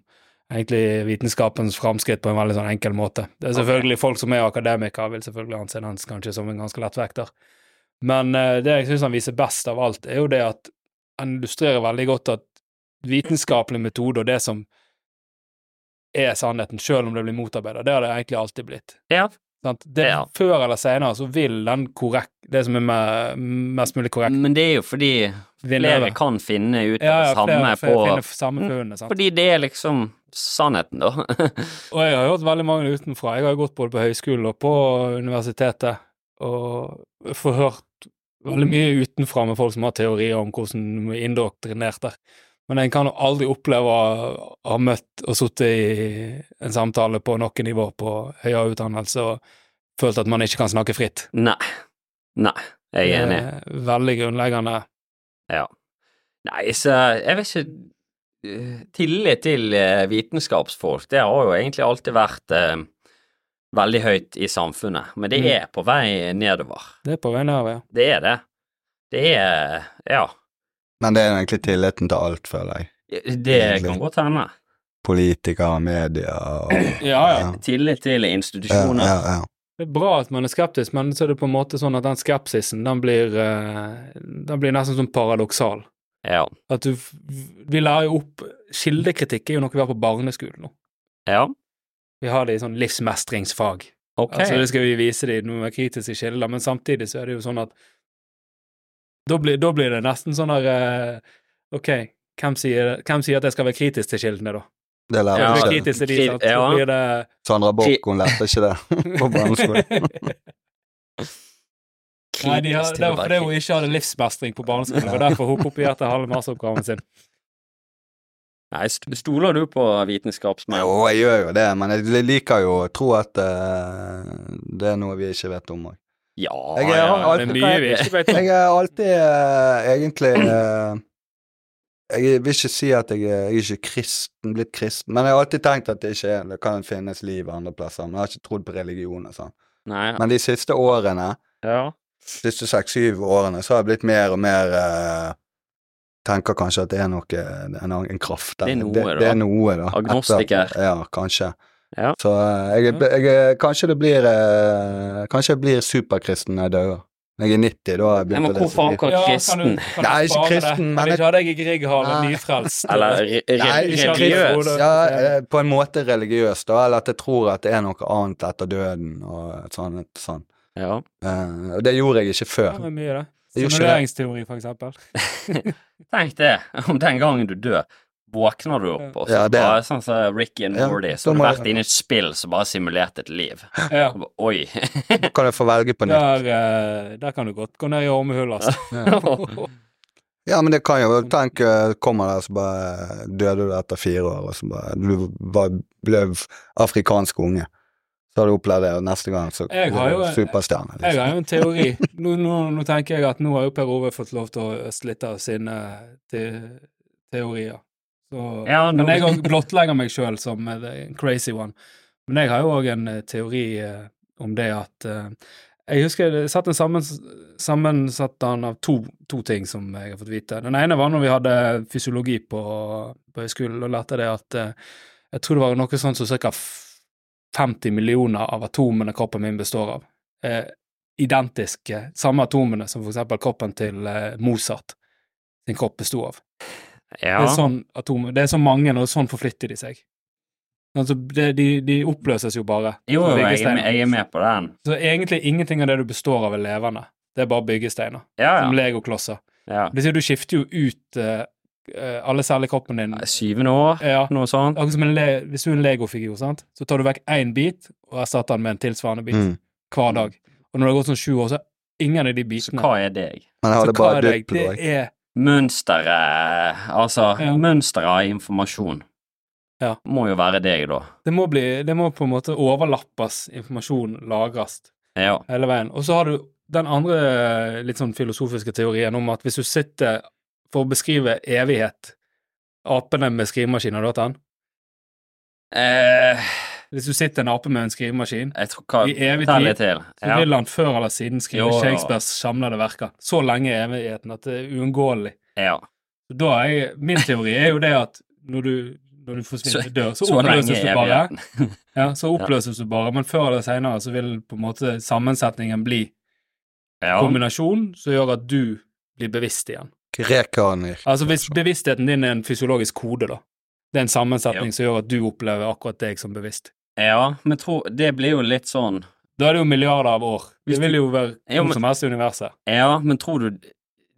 A: egentlig vitenskapens framskritt på en veldig sånn enkel måte. Det er selvfølgelig folk som er akademikere, vil selvfølgelig anse den kanskje som en ganske lett vekter. Men eh, det jeg syns han viser best av alt, er jo det at han illustrerer veldig godt at vitenskapelig metode og det som er sannheten, selv om det blir motarbeidet, det har det egentlig alltid blitt.
C: Ja.
A: Sant? Det,
C: Ja.
A: Før eller senere så vil den korrekt, det som er me- mest mulig korrekt,
C: Men det er jo fordi
A: vinne
C: flere
A: over.
C: kan finne ut av
A: Ja,
C: det
A: ja,
C: samme
A: flere får- finner
C: på Mm.
A: samme funnet, sant.
C: Fordi det er liksom sannheten, da.
A: Og jeg har hørt veldig mange utenfra. Jeg har jo gått både på høyskolen og på universitetet, og får hørt veldig mye utenfra med folk som har teorier om hvordan de er indoktrinert der. Men en kan jo aldri oppleve å ha møtt og sittet i en samtale på noe nivå på høyere utdannelse og følt at man ikke kan snakke fritt.
C: Nei. Nei, jeg er enig.
A: Det er Veldig grunnleggende.
C: Nei, så jeg vet ikke eh, Tillit til eh, vitenskapsfolk, det har jo egentlig alltid vært eh, veldig høyt i samfunnet, men det
A: Mm.
C: er på vei nedover.
A: Det er på vei nedover, ja.
C: Det er det. Det er Ja.
B: Men det er egentlig tilliten til alt, føler jeg.
C: Det kan godt hende.
B: Politikere, media og
A: Ja, ja.
C: Tillit til
B: Ja,
C: institusjoner.
B: ja, ja.
A: Det er bra at man er skeptisk, men så er det på en måte sånn at den skepsisen, den blir, eh, den blir nesten sånn paradoksal.
C: Ja.
A: At du, f- vi lærer jo opp Kildekritikk er jo noe vi har på barneskolen nå.
C: ja.
A: Vi har det i sånn livsmestringsfag.
C: Ok.
A: Altså, det skal vi vise dem noen kritiske kilder, men samtidig så er det jo sånn at Da blir, da blir det nesten sånn der eh, Ok, hvem sier, hvem sier at jeg skal være kritisk til kildene, da?
B: Det lærer
A: Skal
B: vi
C: Ja,
A: jeg være
B: ikke.
A: kritisk til de,
C: Kri-
A: sant? Så
C: ja.
A: blir det
B: Sandra Borch, hun lærte ikke det på barneskolen.
A: Nei, de har,
C: Kritisk
A: det var fordi
C: tilbake.
A: hun ikke hadde livsmestring på barneskolen, og derfor hun kopierte halve masseoppgaven sin.
C: Nei, st- stoler du på vitenskapsmenn?
B: Jo, jeg gjør jo det, men jeg liker jo å tro at eh, det er noe vi ikke vet om òg.
C: Ja,
B: Jeg er-
C: ja.
A: Det er mye vi ikke vet om.
B: Jeg er alltid eh, egentlig eh, Jeg vil ikke si at jeg er, jeg er ikke kristen, blitt kristen, men jeg har alltid tenkt at det ikke er det kan finnes liv andre plasser. Men jeg har ikke trodd på religion og sånn.
C: Nei,
B: Men de siste årene,
C: ja.
B: de siste seks-syv årene, så har jeg blitt mer og mer eh, Tenker kanskje at det er noe en, annen- en kraft der.
C: Det er noe,
B: det,
C: da.
B: det er noe da.
C: Agnostiker.
B: Etter- ja, kanskje.
C: Ja.
B: Så eh, jeg, er bl- jeg, er- kanskje det blir eh, Kanskje jeg blir superkristen når jeg dør. Når jeg er 90, da har jeg
C: Nei,
B: begynt
C: men
B: å lese
C: hvorfor
B: Bibelen.
C: akkurat kristen?
A: kan
B: Nei, ikke
A: spare det?
B: kristen, men-
A: Kan vi ikke ha deg i Grieghallen
B: Nei.
A: nyfrelst?
C: Eller re re
B: Nei,
A: ikke
C: religiøs?
A: religion, da.
B: Ja, eh, på en måte religiøs, da, eller at jeg tror at det er noe annet etter døden og sånn. sånn.
C: Ja.
B: Eh, og det gjorde jeg ikke
A: Ja,
B: før.
A: det er mye, det.
B: Jeg gjorde ikke det.
A: Simuleringsteori, for eksempel.
C: Tenk det, om den gangen du dør, våkner du opp, og så
B: Ja, det er-
C: bare sånn som Ricky and
B: Ja,
C: Morty,
B: da
C: så har du
B: må jeg-
C: vært inne i et spill som bare simulerte et liv.
A: Ja.
C: Og bare, Oi.
B: Kan jeg få velge på nytt?
A: Der, eh, der kan du godt gå ned i ormehullet, altså.
B: Ja, men det kan jo Tenk, eh, kommer der, så bare døde du etter fire år, og så bare Du bare ble afrikansk unge. Så har du opplevd det, og neste gang så
A: Jeg har
B: blir
A: jo-
B: du superstjerne.
A: Jeg
B: Liksom.
A: har jo en teori. Nå, nå, nå tenker jeg at nå har jo Per Ove fått lov til å øste litt av sine te teorier. Så,
C: Ja,
A: Men
C: nå-
A: jeg òg blottlegger meg sjøl som eh, the crazy one. Men jeg har jo òg en eh, teori eh, om det at eh, Jeg husker jeg satt en sammens sammensatt han av to, to ting som jeg har fått vite. Den ene var når vi hadde fysiologi på, på høyskolen, og lærte det at eh, jeg tror det var noe sånt som ca. 50 millioner av atomene kroppen min består av. Eh, identiske, samme atomene som for eksempel kroppen til eh, Mozart sin kropp bestod av.
C: Ja.
A: Det, er sånn atom, det er så mange, og sånn forflytter de seg. Altså, det, de, de oppløses jo bare.
C: Jo, jo,
A: som
C: jeg, er
A: byggesteiner.
C: med- jeg er med på den.
A: Så egentlig ingenting av det du består av, er levende. Det er bare byggesteiner.
C: Ja,
A: Som
C: ja.
A: legoklosser.
C: ja.
A: Det vil si, du skifter jo ut eh, eh, alle celler i kroppen din.
C: Syvende år,
A: Ja.
C: noe sånt.
A: Akkurat som en le hvis du er en legofigur, sant? så tar du vekk én bit og erstatter den med en tilsvarende bit
B: Mm.
A: hver dag. Og når det har gått sånn sju år, så er ingen av de
C: Så
A: bitene
C: hva er deg?
B: Men jeg
A: Så
B: hadde
A: hva
B: bare
A: er det?
B: duplo. jeg.
A: Det er
C: Mønsteret Altså,
A: Ja.
C: mønsteret av informasjon
A: Ja.
C: må jo være deg, da.
A: Det må, bli, det må på en måte overlappes, informasjon lagres
C: Ja.
A: hele veien. Og så har du den andre litt sånn filosofiske teorien om at hvis du sitter for å beskrive evighet, apene med skrivemaskin, har du hørt den?
C: Eh,
A: Hvis du sitter en ape med en skrivemaskin,
C: jeg tror hva
A: I evig
C: Tell
A: tid.
C: litt til.
A: så
C: Ja.
A: vil han før eller siden skrive
C: Jo, jo.
A: Shakespeares samlede verker. Så lenge er evigheten at det er uunngåelig.
C: ja.
A: Da er jeg, min teori er jo det at når du, når du forsvinner, dør, så,
C: Så lenge
A: oppløses du
C: er
A: bare.
C: evigheten.
A: Ja, så oppløses du bare, men før eller senere så vil på en måte sammensetningen bli
C: Ja.
A: kombinasjon som gjør at du blir bevisst igjen.
B: Rekarner.
A: Altså hvis bevisstheten din er en fysiologisk kode, da. Det er en sammensetning som gjør at du opplever akkurat deg som bevisst.
C: ja, men tro, det blir jo litt sånn
A: Da er det jo milliarder av år. Det vil jo være
C: Jo, men-
A: noe som helst i universet.
C: Ja, men tror du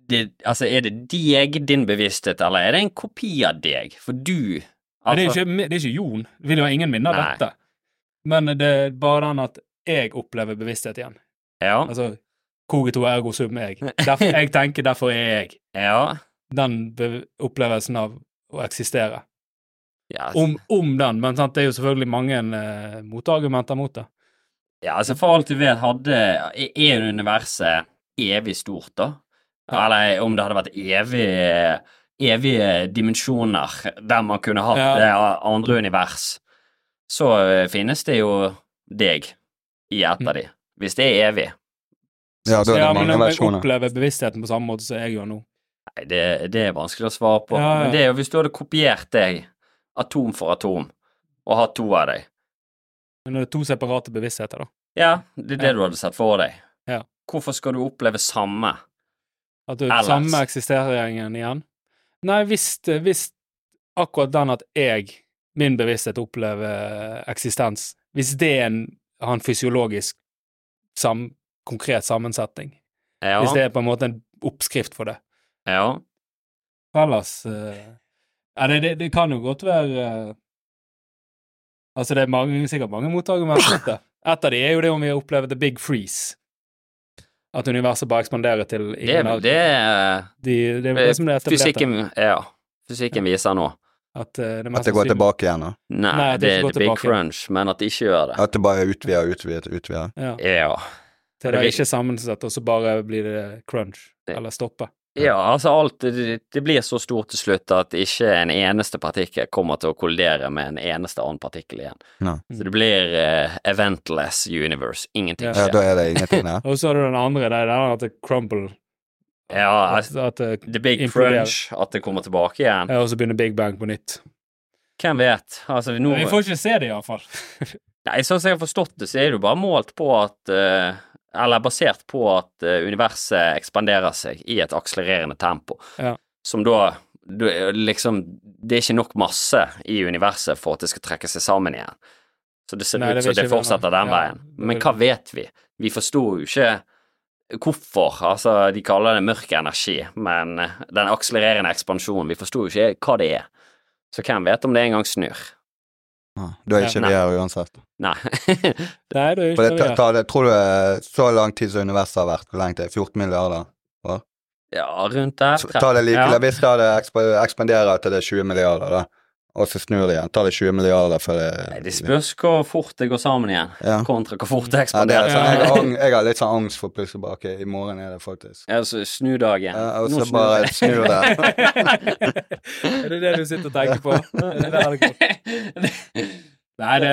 C: det, Altså, er det deg, din bevissthet, eller er det en kopi av deg? For du
A: Men det,
C: altså-
A: er ikke, det er ikke Jon. Det vil jo ha ingen minne av
C: Nei.
A: dette. Men det er bare den at jeg opplever bevissthet igjen.
C: Ja.
A: Altså cogito ergo sum jeg. Derfor, jeg tenker, derfor er jeg.
C: Ja.
A: Den be- opplevelsen av å eksistere.
C: Ja, altså,
A: Om, om den, men sant, det er jo selvfølgelig mange eh, motargumenter mot det.
C: ja, altså for alt du vet, hadde Er universet evig stort, da?
A: Ja.
C: Eller om det hadde vært evig Evige dimensjoner der man kunne hatt
A: Ja.
C: eh, andre univers, så eh, finnes det jo deg i
A: Mm.
C: et av de. Hvis det er evig.
B: Ja, da er
A: Ja,
B: det
A: men
B: mange
A: om jeg
B: versjoner.
A: opplever bevisstheten på samme måte som jeg gjør nå.
C: Nei, det, det er vanskelig å svare på.
A: Ja, ja.
C: Men det er jo hvis du hadde kopiert deg atom for atom, og hatt to av deg.
A: Men det er to separate bevisstheter, da.
C: Ja, det er det
A: Ja.
C: du hadde sett for deg.
A: Ja.
C: Hvorfor skal du oppleve samme?
A: At det er
C: Ellers.
A: samme eksisteringen igjen. Nei, hvis, det- hvis akkurat den at jeg, min bevissthet, opplever eh, eksistens Hvis det er en, har en fysiologisk sam, konkret sammensetning.
C: Ja,
A: Hvis det er på en måte en oppskrift for det.
C: ja.
A: Ellers eh, Ja, det, det, det kan jo godt være eh, Altså, det er mange, sikkert mange motargumenter mot det. Et av de er jo det om vi opplever the big freeze. At universet bare ekspanderer til
C: Det er
A: ingen av
C: vel det,
A: de, det er
C: eh,
A: vel det som det er etablert.
C: fysikken Ja, fysikken viser nå.
A: At eh, det mest
B: At det går
A: sannsynlig-
B: tilbake igjen, da.
C: Nei,
A: Nei, at det
C: det,
A: ikke
C: er
A: går
C: the big
A: tilbake.
C: crunch, men at det ikke gjør det.
B: At det bare er utvidet, utvidet, utvidet.
A: Ja,
C: Ja.
A: til det er ikke sammensatt, og så bare blir det crunch,
C: Det-
A: eller stoppe.
C: ja, altså alt det, det blir så stort til slutt at ikke en eneste partikkel kommer til å kollidere med en eneste annen partikkel igjen.
B: Nei.
C: Så det blir eh, eventless universe. Ingenting
A: Ja.
B: Ja,
C: skjer.
B: da er det ingenting der.
A: Og så har du den andre, det er den at det crumble,
C: Ja,
A: at,
C: altså,
A: at det
C: the big
A: Imploderer.
C: crunch, at det kommer tilbake igjen.
A: ja, og så begynner big bang på nytt.
C: Hvem vet? Altså, vi nå
A: Vi får ikke se det, iallfall.
C: Nei, sånn som jeg har forstått det, så er det jo bare målt på at eh, Eller basert på at eh, universet ekspanderer seg i et akselererende tempo.
A: Ja.
C: Som da du, liksom Det er ikke nok masse i universet for at det skal trekke seg sammen igjen. Så det ser
A: Nei, det
C: ut som
A: vil
C: det
A: ikke vi,
C: fortsetter
A: nei.
C: den
A: Ja,
C: veien.
A: det
C: Men
A: vil-
C: hva vet vi? Vi forstår jo ikke hvorfor. Altså, de kaller det mørk energi, men eh, den akselererende ekspansjonen Vi forstår jo ikke hva det er. Så hvem vet om det en gang snur?
B: Ja, Ah, Da er ikke
C: Nei.
B: vi her uansett.
C: Nei.
A: Nei, det er ikke
B: For det
A: det vi
B: tar,
A: gjør.
B: tar det, tror du eh, så lang tid som universet har vært, hvor lenge det er? 14 milliarder?
C: Ja, rundt der.
B: Så tar det like,
C: ja.
B: Hvis da det eksp ekspanderer til det er 20 milliarder, da, og så snur det igjen, tar det 20 milliarder før det
C: Nei, Det spørs hvor fort det går sammen igjen,
B: Ja.
C: kontra hvor fort det
B: Ja, det er
C: ekspanderer.
B: sånn, jeg,
A: Ja.
B: har, ang- jeg har litt sånn angst for plutselig bare ok, i morgen er det faktisk
C: Ja, så snudagen.
B: ja, Og
C: Nå
B: så
C: snur
B: bare
C: det.
B: snur det.
A: er det det du sitter og tenker på? Er det der det går? Nei, det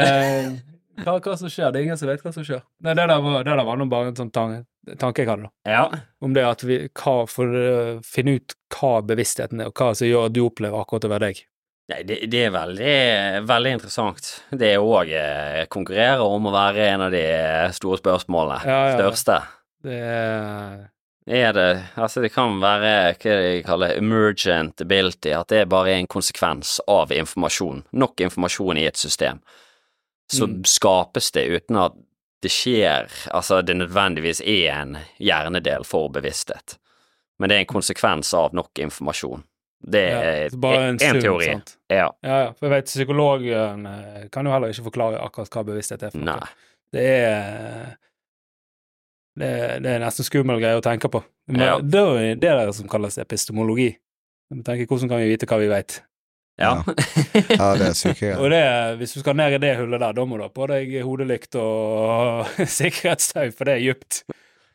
A: hva, hva som skjer? Det er ingen som vet hva som skjer. Nei, det der var, det der var nå bare en sånn tan- tanke jeg hadde, da.
C: Ja.
A: om det at vi hva, for å finne ut hva bevisstheten er, og hva som gjør at du opplever akkurat over deg.
C: Nei, det, det er veldig, veldig interessant. Det òg eh, konkurrerer om å være en av de store spørsmålene.
A: Ja, ja, ja.
C: Største.
A: Det er
C: Er det Altså, det kan være hva de kaller emergent ability, at det bare er en konsekvens av informasjon. Nok informasjon i et system. Så
A: Mm.
C: skapes det uten at det skjer Altså, det nødvendigvis er en hjernedel for bevissthet. Men det er en konsekvens av nok informasjon. Det
A: Mm. ja,
C: er
A: så bare
C: Eh,
A: sånn.
C: en,
A: sum,
C: teori.
A: sant?
C: Ja.
A: Ja, ja. For jeg vet, psykologen eh, kan jo heller ikke forklare akkurat hva bevissthet er. for noe.
C: Nei.
A: Det er det, det er nesten skummel greie å tenke på. Men
C: Ja.
A: Det er jo det der som kalles epistemologi. Jeg må tenke, hvordan kan vi vite hva vi vet?
C: Ja.
B: Ja, det er syke
A: Og
B: greier.
A: det, hvis du skal ned i det hullet der, da må du ha på deg hodelykt og sikkerhetstau, for det er djupt.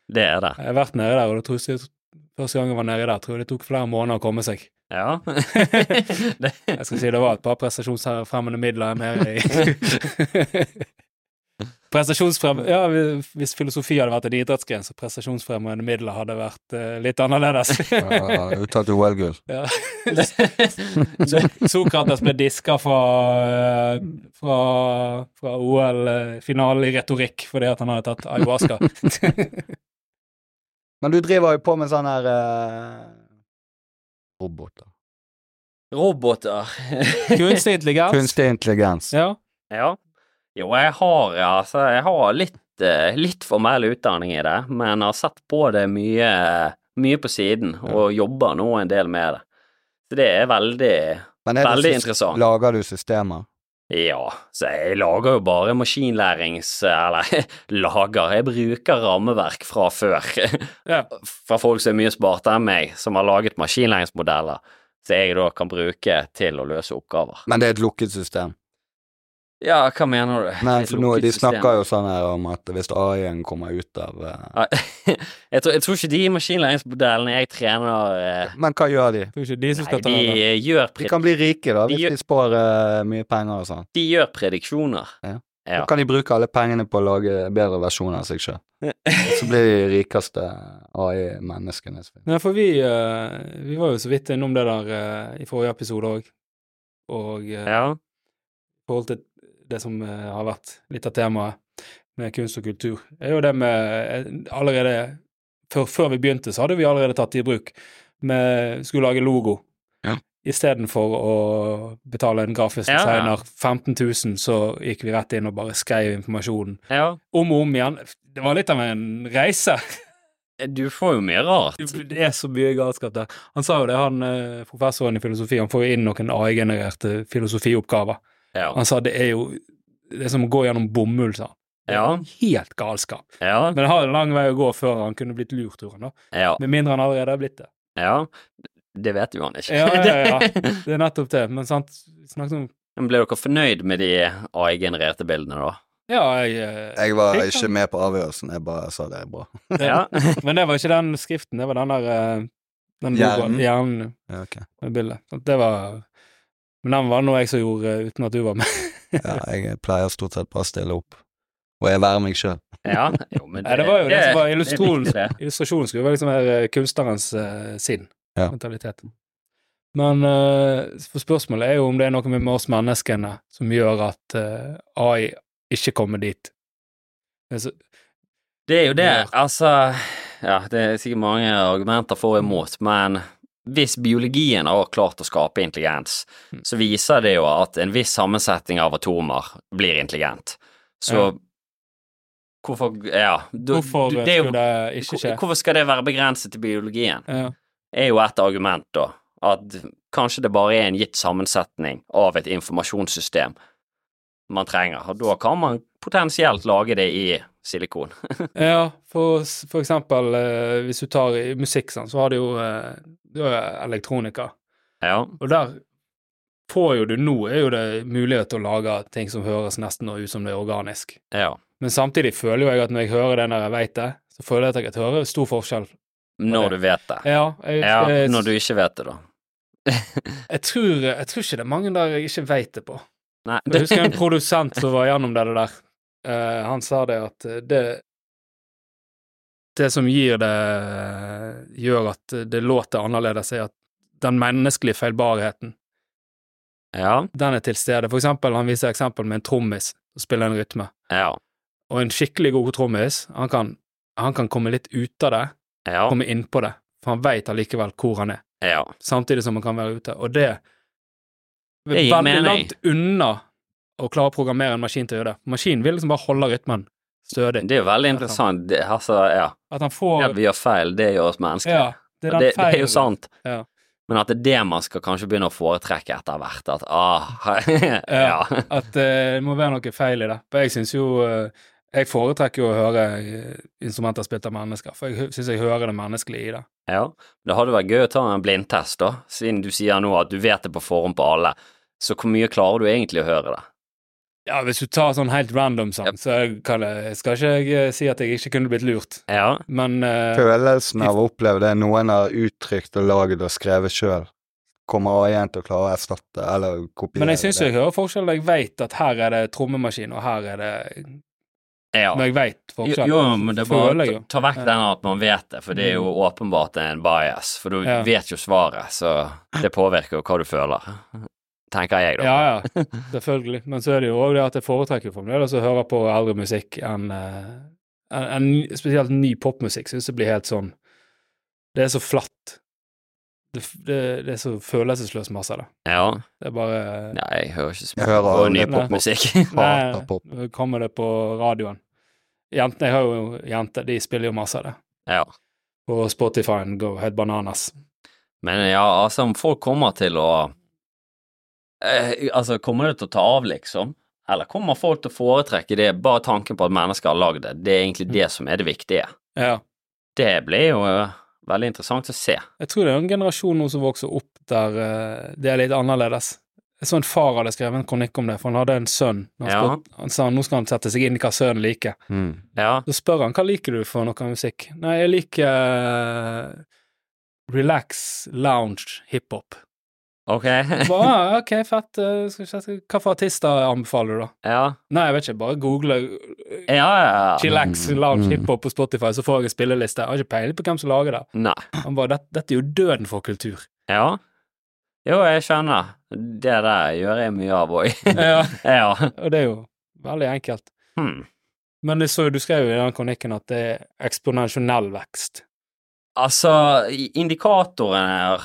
C: Det er det.
A: Jeg har vært nede der, og det tror jeg, første gang jeg var nede der, tror jeg det tok flere måneder å komme seg.
C: Ja. det,
A: Jeg skal si det var et par prestasjonsfremmende midler mer i Prestasjonsfrem... Ja, hvis filosofi hadde vært en idrettsgren, så prestasjonsfremmende midler hadde vært eh, litt annerledes.
B: Ja, Uttalt OL-gull.
A: ja.
C: det, det,
A: Sokrates ble diska fra, eh, fra, fra OL-finalen i retorikk fordi at han hadde tatt ayahuasca.
B: Men du driver jo på med sånn her eh, Roboter.
C: roboter.
A: Kunstig intelligens.
B: Kunstig intelligens.
A: Ja.
C: ja. Jo, jeg har, altså, jeg har litt, eh, litt formell utdanning i det, men har sett på det mye, mye på siden, og jobber nå en del med det. Så det er veldig
B: Men er det
C: Veldig
B: sys-
C: interessant.
B: Lager du systemer?
C: Ja, så jeg lager jo bare maskinlærings... Eller lager, jeg bruker rammeverk fra før.
A: Ja.
C: Fra folk som er mye smartere enn meg, som har laget maskinlæringsmodeller, som jeg da kan bruke til å løse oppgaver.
B: Men det er et lukket system.
C: Ja, hva mener du?
B: Nei, for nå, de snakker jo sånn her om at hvis AI-en kommer ut av eh,
C: jeg tror, jeg tror ikke de maskinlæringsmodellene jeg trener eh,
B: Men hva gjør de?
A: Det er jo ikke de som
C: Nei,
A: skal ta
C: de eh,
A: det.
C: gjør,
B: De
C: pre
B: kan bli rike, da,
C: De
B: hvis
C: gjør-
B: de spår eh, mye penger og sånn.
C: de gjør prediksjoner.
B: Da
C: Ja.
B: kan de bruke alle pengene på å lage bedre versjoner av seg sjøl. Så blir de rikeste AI-menneskene.
A: Nei, for vi, eh, vi var jo så vidt innom det der eh, i forrige episode òg, og eh, i
C: Ja.
A: forhold til det som eh, har vært litt av temaet med kunst og kultur, er jo det med eh, allerede før, før vi begynte, så hadde vi allerede tatt det i bruk. Vi skulle lage logo.
B: Ja.
A: Istedenfor å betale en grafisk
C: Ja.
A: designer 15 000, så gikk vi rett inn og bare skrev informasjonen
C: ja.
A: om og om igjen. Det var litt av en reise.
C: Du får jo mye rart.
A: Det er så mye galskap der. Han sa jo det, han eh, professoren i filosofi, han får jo inn noen AI-genererte filosofioppgaver.
C: Ja.
A: Han sa det er jo det er som å gå gjennom bomull, sa han. Det er
C: Ja.
A: Helt galskap.
C: Ja.
A: Men det har en lang vei å gå før han kunne blitt lurt, tror han da.
C: ja.
A: Med mindre han allerede har blitt det.
C: Ja, det vet jo han ikke.
A: Ja, ja, ja. Det er nettopp det. Men sant, vi snakket om
C: Men ble dere fornøyd med de AI-genererte bildene, da?
A: Ja, jeg, eh,
B: Jeg var
A: Jeg kan-
B: ikke med på avgjørelsen, jeg bare sa det er bra.
C: Ja.
A: Men det var ikke den skriften, det var den der eh, den
B: Hjernen.
A: logoen- hjernen
B: Ja, ok.
A: med bildet. Sant, Det var Men den var noe jeg som gjorde eh, uten at du var med.
B: ja, jeg pleier stort sett bare å stille opp, og jeg være meg sjøl.
C: ja. Jo, men
A: Nei, det var jo det som var
C: er
A: illustrasjonen.
C: viktig, det.
A: Illustrasjonen skulle være liksom være kunstnerens eh, sinn,
B: Ja.
A: mentalitet. Men eh, for spørsmålet er jo om det er noe med oss menneskene som gjør at eh, AI ikke kommer dit. Men så-
C: Det er jo det. Altså Ja, det er sikkert mange argumenter for og imot,
A: Mm.
C: men hvis biologien har klart å skape intelligens,
A: Mm.
C: så viser det jo at en viss sammensetning av atomer blir intelligent. Så
A: Ja.
C: hvorfor Ja. du-
A: hvorfor
C: du-
A: skulle
C: det er jo-
A: det ikke skje?
C: Hvorfor skal det være begrenset til biologien?
A: Ja.
C: er jo et argument, da, at kanskje det bare er en gitt sammensetning av et informasjonssystem man trenger, og da kan man potensielt lage det i silikon.
A: ja, for, s- for eksempel eh, hvis du tar i musikk, sånn, så har du jo eh, du har jo elektronika,
C: Ja,
A: og der får jo du nå er jo det mulighet til å lage ting som høres nesten ut som det er organisk.
C: ja.
A: Men samtidig føler jo jeg at når jeg hører det når jeg veit det, så føler jeg at jeg hører stor forskjell.
C: Når du vet det.
A: Ja, jeg,
C: Ja,
A: jeg,
C: når du ikke vet det, da.
A: jeg, tror, jeg tror ikke det er mange der jeg ikke veit det på.
C: Nei,
A: Jeg husker en produsent som var gjennom det der. Eh, han sa det at eh, det Det som gir det eh, Gjør at det låter annerledes, er at den menneskelige feilbarheten,
C: Ja,
A: den er til stede. For eksempel, han viser eksempel med en trommis som spiller en rytme.
C: ja,
A: Og en skikkelig god trommis, han kan, han kan komme litt ut av det,
C: ja,
A: komme inn på det, for han veit allikevel hvor han er,
C: ja.
A: samtidig som han kan være ute. Og det er
C: Det gir
A: veldig
C: mening.
A: langt unna å klare å programmere en maskin til å gjøre det. Maskinen vil liksom bare holde rytmen stødig.
C: Det er jo veldig interessant, det, altså, ja.
A: At han
C: Det
A: får
C: at vi gjør feil, det gjør oss mennesker.
A: Ja, det er den
C: Og det, det er jo
A: feilen.
C: sant.
A: Ja.
C: Men at det er det man skal kanskje begynne å foretrekke etter hvert, at ah, ja.
A: At eh, det må være noe feil i det. For jeg syns jo eh, Jeg foretrekker jo å høre eh, instrumenter spilt av mennesker, for jeg syns jeg hører det menneskelige i det.
C: Ja, det hadde vært gøy å ta en blindtest, da, siden du sier nå at du vet det på forhånd på alle. Så hvor mye klarer du egentlig å høre det?
A: Ja, hvis du tar sånn helt random sang, så kan jeg, skal ikke jeg eh, si at jeg ikke kunne blitt lurt.
C: Ja.
A: Men eh,
B: Følelsen av å oppleve det noen har uttrykt og lagd og skrevet sjøl, kommer A1 til å klare å erstatte eller kopiere
A: Men jeg syns jeg hører forskjell. Jeg veit at her er det trommemaskin, og her er det
C: ja.
A: Når jeg veit
C: Jo,
A: forskjell,
C: jo, men det er bare
A: føler jeg
C: å
A: jo. Mm.
C: ta vekk den at man vet det, for det er jo åpenbart en bias. For du
A: Ja.
C: vet jo svaret, så det påvirker jo hva du føler, tenker jeg, da.
A: Ja, ja, selvfølgelig. Men så er det jo òg det at jeg foretrekker fremdeles å høre på eldre musikk enn eh, enn- enn Spesielt ny popmusikk syns jeg blir helt sånn Det er så flatt. Det, f- det, det er så følelsesløs masse av det.
C: ja.
A: Det er bare
C: Nei, jeg hører ikke så
B: Jeg
C: mye
B: hører
C: på ny
B: aldri
A: på
C: popmusikk.
B: hater pop.
A: Nei, nå kommer det på radioen. Jentene, jeg har jo jenter, de spiller jo masse av det.
C: ja.
A: Og Spotifyen går helt bananas.
C: Men ja, altså, om folk kommer til å eh, Altså, kommer det til å ta av, liksom? Eller kommer folk til å foretrekke det, bare tanken på at mennesker har lagd det? Det er
A: Mm.
C: egentlig det som er det viktige.
A: Ja.
C: Det blir jo eh, veldig interessant å se.
A: Jeg tror det er en generasjon nå som vokser opp der eh, det er litt annerledes. Jeg så en far hadde skrevet en kronikk om det, for han hadde en sønn. Han,
C: Ja.
A: spurte- han sa nå skal han sette seg inn i hva sønnen liker.
B: Mm.
C: Ja,
A: Så spør han hva liker du for noe musikk. Nei, jeg liker eh, relax, lounge, hiphop.
C: ok.
A: Bare, «Ah, Ok, fett. eh, Skal vi se, hva for artister anbefaler du, da?
C: ja,
A: Nei, jeg vet ikke, bare google eh,
C: ja, ja. ja.
A: chillax, lounge,
B: Mm.
A: hiphop på Spotify, så får jeg en spilleliste. Jeg har ikke peiling på hvem som lager det.
C: Nei.
A: Han bare, dette, dette er jo døden for kultur.
C: Ja. Jo, jeg skjønner. Det der gjør jeg mye av òg.
A: ja.
C: ja.
A: Og det er jo veldig enkelt.
C: Hmm.
A: Men det så, jo- du skrev jo i den kronikken at det er eksponensjonell vekst.
C: Altså, i- indikatorene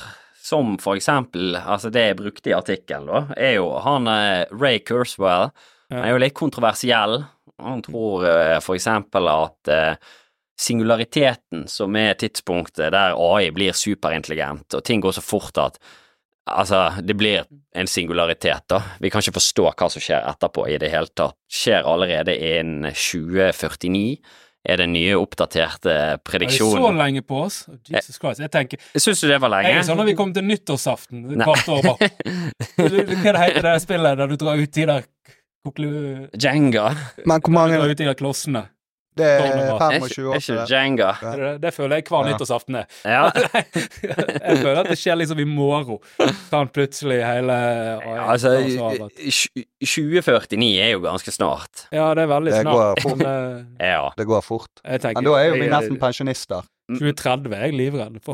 C: som for eksempel altså det jeg brukte i artikkelen, da, er jo han eh, Ray Kurzweil.
A: Ja.
C: Han er jo litt kontroversiell. Han tror eh, for eksempel at eh, singulariteten, som er tidspunktet der AI blir superintelligent, og ting går så fort at Altså, det blir en singularitet, da. Vi kan ikke forstå hva som skjer etterpå i det hele tatt. Skjer allerede innen 2049, er den nye oppdaterte
A: Er det så
C: prediksjonen.
A: lenge på oss? Jesus Christ. Jeg tenker
C: Syns du det var
A: Jeg
C: Eh. lenge?
A: er sånn når vi kommer til nyttårsaften et
C: Nei.
A: kvart år bak. Hva det heter det spillet der du drar ut de der koklu...
C: Jenga.
B: Men hvor
A: Du
B: mange
A: drar ut de der klossene.
B: Det er
A: Barnemat.
C: Er ikke,
B: 25
C: er
B: år
C: ikke
B: til det.
C: Jenga.
A: Er Det, det føler jeg hver
B: Ja.
A: nyttårsaften er.
C: Ja.
A: Jeg føler at det skjer liksom i morgen. Kan plutselig hele
C: Altså, 2049 er jo ganske snart.
A: Ja, det er veldig
B: Det går
A: snart.
B: fort.
A: Men eh,
C: Ja.
B: Det går fort.
A: jeg
B: Men
A: tenker
B: da er jo vi
A: jeg-
B: nesten pensjonister.
A: 2030 er jeg livredd for.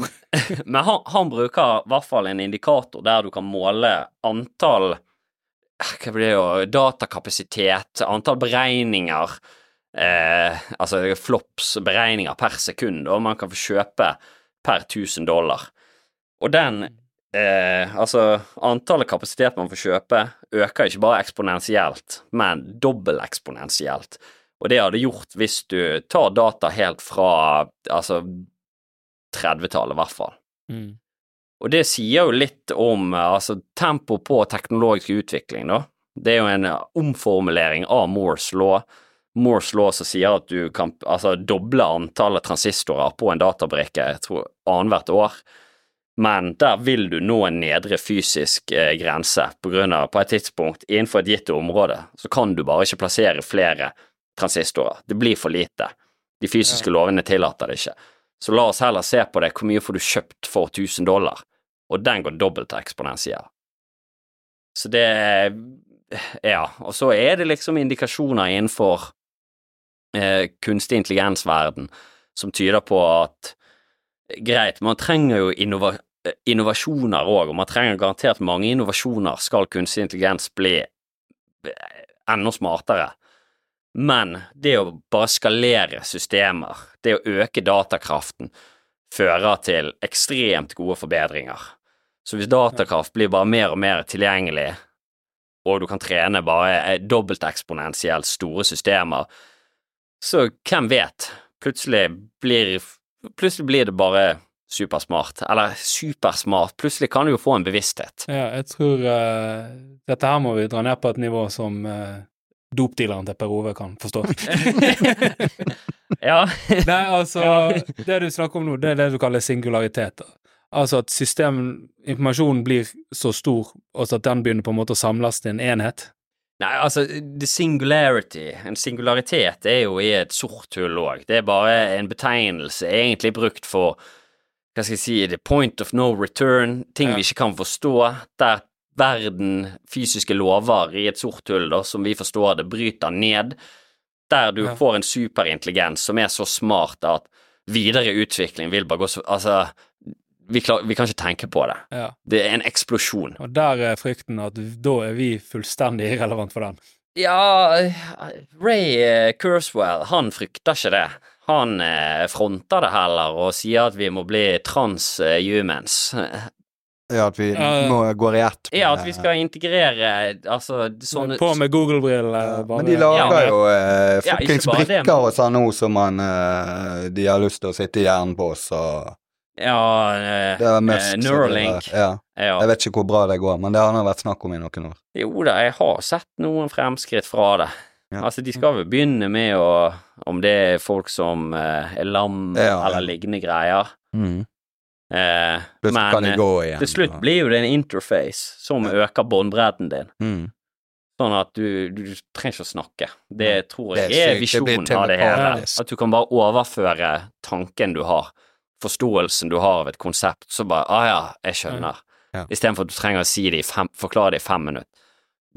C: Men han, han bruker i hvert fall en indikator der du kan måle antall eh, Hva blir det jo Datakapasitet, antall beregninger eh, Altså flops beregninger per sekund, og man kan få kjøpe per 1000 dollar. Og den eh, Altså, antallet kapasitet man får kjøpe, øker ikke bare eksponentielt, men dobbeleksponentielt. Og det har det gjort hvis du tar data helt fra altså 30-tallet, i hvert fall.
A: Mm.
C: Og det sier jo litt om eh, altså, tempo på teknologisk utvikling, da. Det er jo en eh, omformulering av Moores law. Moores law som sier at du kan altså, doble antallet transistorer på en databrikke jeg tror annethvert år. Men der vil du nå en nedre fysisk eh, grense på grunn av på et tidspunkt innenfor et gitt område så kan du bare ikke plassere flere transistorer. Det blir for lite. De fysiske lovene tillater det ikke. Så la oss heller se på det, hvor mye får du kjøpt for 1000 dollar? Og den går dobbelt eksponentiell. Så det Ja, og så er det liksom indikasjoner innenfor eh, kunstig intelligensverden som tyder på at eh, Greit, man trenger jo innova, eh, innovasjoner òg, og man trenger garantert mange innovasjoner skal kunstig intelligens bli eh, enda smartere. Men det å bare skalere systemer, det å øke datakraften, fører til ekstremt gode forbedringer. Så hvis datakraft blir bare mer og mer tilgjengelig, og du kan trene bare eh, dobbelteksponentielt store systemer, så hvem vet? Plutselig blir, plutselig blir det bare supersmart. Eller supersmart, plutselig kan du jo få en bevissthet.
A: Ja, jeg tror eh, dette her må vi dra ned på et nivå som uh, dopdealeren til Per Ove kan forstå.
C: Ja,
A: Nei, altså, det du snakker om nå, det er det du kaller singularitet. da. Altså at system, informasjonen blir så stor, og så at den begynner på en måte å samles til en enhet.
C: Nei, altså, the singularity, en singularitet, er jo i et sort hull òg. Det er bare en betegnelse egentlig brukt for, hva skal jeg si, the point of no return, ting
A: Ja.
C: vi ikke kan forstå, der verden, fysiske lover i et sort hull, da, som vi forstår det, bryter ned, der du
A: Ja.
C: får en superintelligens som er så smart at videre utvikling vil bare gå så Altså, vi, klar, vi kan ikke tenke på det.
A: Ja.
C: Det er en eksplosjon.
A: Og der er frykten at da er vi fullstendig irrelevant for den.
C: Ja, Ray eh, Kurzweil, han frykter ikke det. Han eh, fronter det heller og sier at vi må bli transhumans.
B: Ja, at vi
A: Ja, ja.
B: må går i ett.
C: Ja, at vi skal integrere altså sånne
A: På med Google-brillene.
B: Ja,
A: bare-
B: men de lager
C: Ja,
B: jo eh,
C: Ja,
B: fuckings
C: ikke bare det,
B: brikker og sånn nå som man eh, De har lyst til å sitte i hjernen på oss og
C: Ja, eh,
B: Det er mest
C: eh, Neuralink.
B: Ja.
C: Ja.
B: Jeg vet ikke hvor bra det går, men det har nå vært snakk om i noen år.
C: Jo da, jeg har sett noen fremskritt fra det.
B: Ja.
C: Altså, de skal vel begynne med å Om det er folk som eh, er lam
B: Ja, ja.
C: eller lignende greier.
B: Mm.
C: Eh,
B: Plutselig
C: men
B: kan de
C: eh,
B: gå igjen.
C: til slutt
B: og-
C: blir jo det en interface som
B: Ja.
C: øker båndbredden din.
B: Mm.
C: Sånn at du, du trenger ikke å snakke. Det tror
B: Det er
C: jeg er,
B: sykt. Det blir
C: visjonen av det hele.
B: telepatisk.
C: At du kan bare overføre tanken du har, forståelsen du har av et konsept, så bare ah ja, jeg skjønner.
B: Ja.
C: Istedenfor at du trenger å si det i fem, forklare det i fem minutter.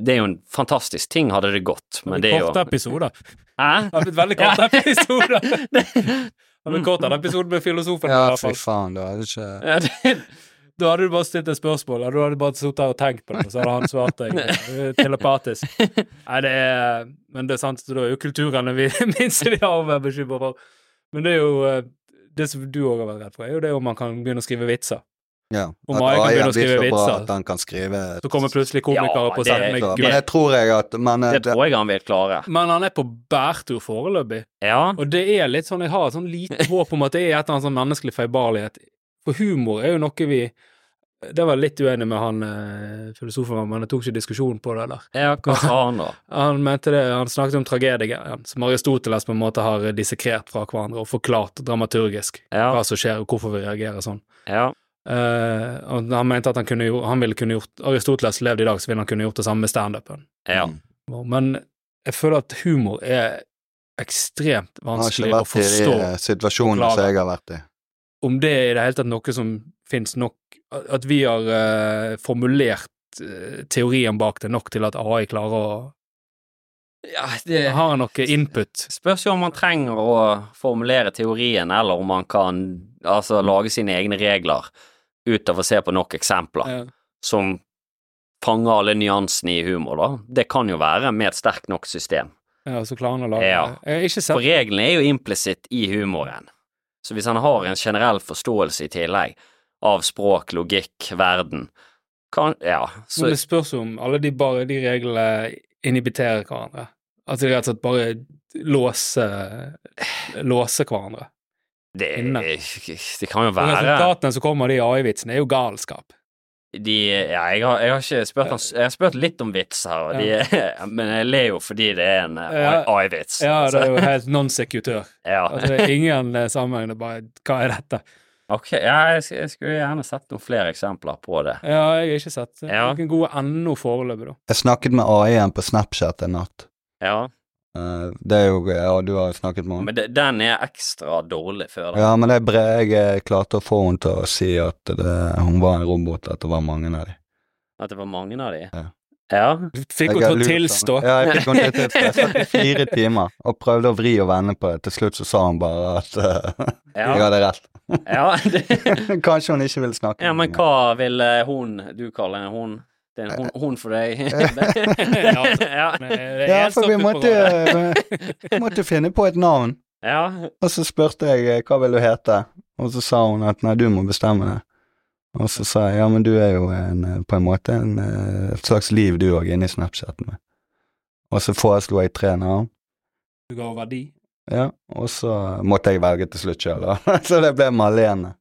C: Det er jo en fantastisk ting, hadde det gått, men det er jo
A: Korte episoder.
C: Hæ?
A: Det har blitt veldig korte episoder. Det har
C: Mm.
A: blitt kortere episode med filosofen. i
B: Ja,
A: hvert
B: fy
A: fall.
B: faen, da er det ikke
C: Ja, det,
A: Da hadde du bare stilt et spørsmål, og du hadde bare sittet og tenkt på det, og så hadde han svart deg eh, telepatisk. Nei, det er Men det er sant, så da er jo kulturene vi minst vi har å være bekymra for. Men det er jo eh, det som du òg har vært redd for, er jo det om man kan begynne å skrive vitser.
B: ja.
A: Om Maiken
B: AI
A: begynner å
B: blir så
A: skrive
B: bra
A: vitser.
B: At han kan skrive
A: Så kommer plutselig komikere
C: Ja,
A: på
C: det-
A: scenen med
B: så, Men
A: grep.
B: det tror jeg at Men eh,
C: det
B: det,
C: tror jeg han vil klare.
A: Men han er på bærtur foreløpig,
C: Ja.
A: og det er litt sånn Jeg har et sånn lite håp om at det er et eller annet sånn menneskelig feilbarlighet. For humor er jo noe vi Det var jeg litt uenig med han eh, filosofen, vår, men jeg tok ikke diskusjonen på det der.
C: Ja, hva sa han da?
A: Han mente det, han snakket om tragedien, som Aristoteles på en måte har dissekert fra hverandre og forklart dramaturgisk
C: Ja,
A: hva som skjer og hvorfor vi reagerer sånn.
C: ja.
A: Eh, og han mente at han, kunne, gjort- han ville kunne gjort Aristoteles levde i dag, så ville han kunne gjort det samme med standupen.
C: ja.
B: Mm.
A: Men jeg føler at humor er ekstremt
B: Han har
A: vanskelig
B: ikke
A: å
B: vært i de
A: forstå.
B: eh, situasjonene som jeg har vært i.
A: Om det er i det hele tatt noe som finnes nok At vi har eh, formulert eh, teorien bak det nok til at AI klarer å
C: ja det,
A: Har noe input.
C: Spørs jo om man trenger å formulere teorien, eller om man kan altså, lage sine egne regler ut av å se på nok eksempler
A: Ja.
C: som fanger alle nyansene i humor, da. Det kan jo være med et sterkt nok system.
A: Ja, så klarer han å lage
C: Ja.
A: det. Jeg har ikke
C: For
A: sett
C: reglene er jo implisitt i humoren. Så hvis han har en generell forståelse i tillegg av språk, logikk, verden, kan Ja, så
A: Men det spørs jo om alle de, bare, de reglene inhibiterer hverandre. At de rett og slett bare låser, låser hverandre.
C: det,
A: Inne.
C: det kan jo
A: Men altså,
C: være
A: Resultatene som kommer av de AI-vitsene, er jo galskap.
C: de, ja, jeg, har, jeg har ikke spurt han, Jeg har spurt litt om vitser, og de, men jeg ler jo fordi det er en eh,
A: Ja.
C: AI-vits.
A: Ja, det er jo helt non sequitur.
C: ja.
A: Altså, det er ingen eh, sammenheng. Det er bare Hva er dette?
C: Ok, ja, jeg, sk- jeg skulle gjerne sett noen flere eksempler på det.
A: Ja, jeg har ikke sett eh,
C: Ja.
A: noen gode ennå foreløpig, da.
B: Jeg snakket med AI-en på Snapchat en natt.
C: Ja,
B: Eh, Det er jo Ja, du har jo snakket med henne.
C: Men det, den er ekstra dårlig før den.
B: Ja, men det er bre- jeg eh, klarte å få henne til å si at det, hun var en robot, at det var mange av dem.
C: At det var mange av de.
B: Ja.
C: Ja.
A: Du fikk henne til å tilstå.
B: Ja, jeg fikk henne til å tilstå. Jeg satt i fire timer og prøvde å vri og vende på det. Til slutt så sa hun bare at eh,
C: Ja.
B: jeg hadde rett.
C: Ja, det,
B: Kanskje hun ikke ville snakke
C: ja,
B: med
C: men
B: meg.
C: hva vil eh, hun du kaller en hun? Det er en hun, hun for
B: Eh.
C: deg. ja.
A: Men, eh, det er
B: Ja,
A: helt
B: for vi
A: stoppet på
B: måtte,
A: hverandre.
B: eh, måtte finne på et navn.
C: ja.
B: Og så spurte jeg eh, hva vil du hete, og så sa hun at nei, du må bestemme det. Og så sa jeg ja, men du er jo en, eh, på en måte en, eh, et slags liv du òg, inne i Snapchat med. Og så foreslo jeg tre navn.
A: Du ga verdi.
B: Ja, og så måtte jeg velge til slutt sjøl, da. Så det ble Malene.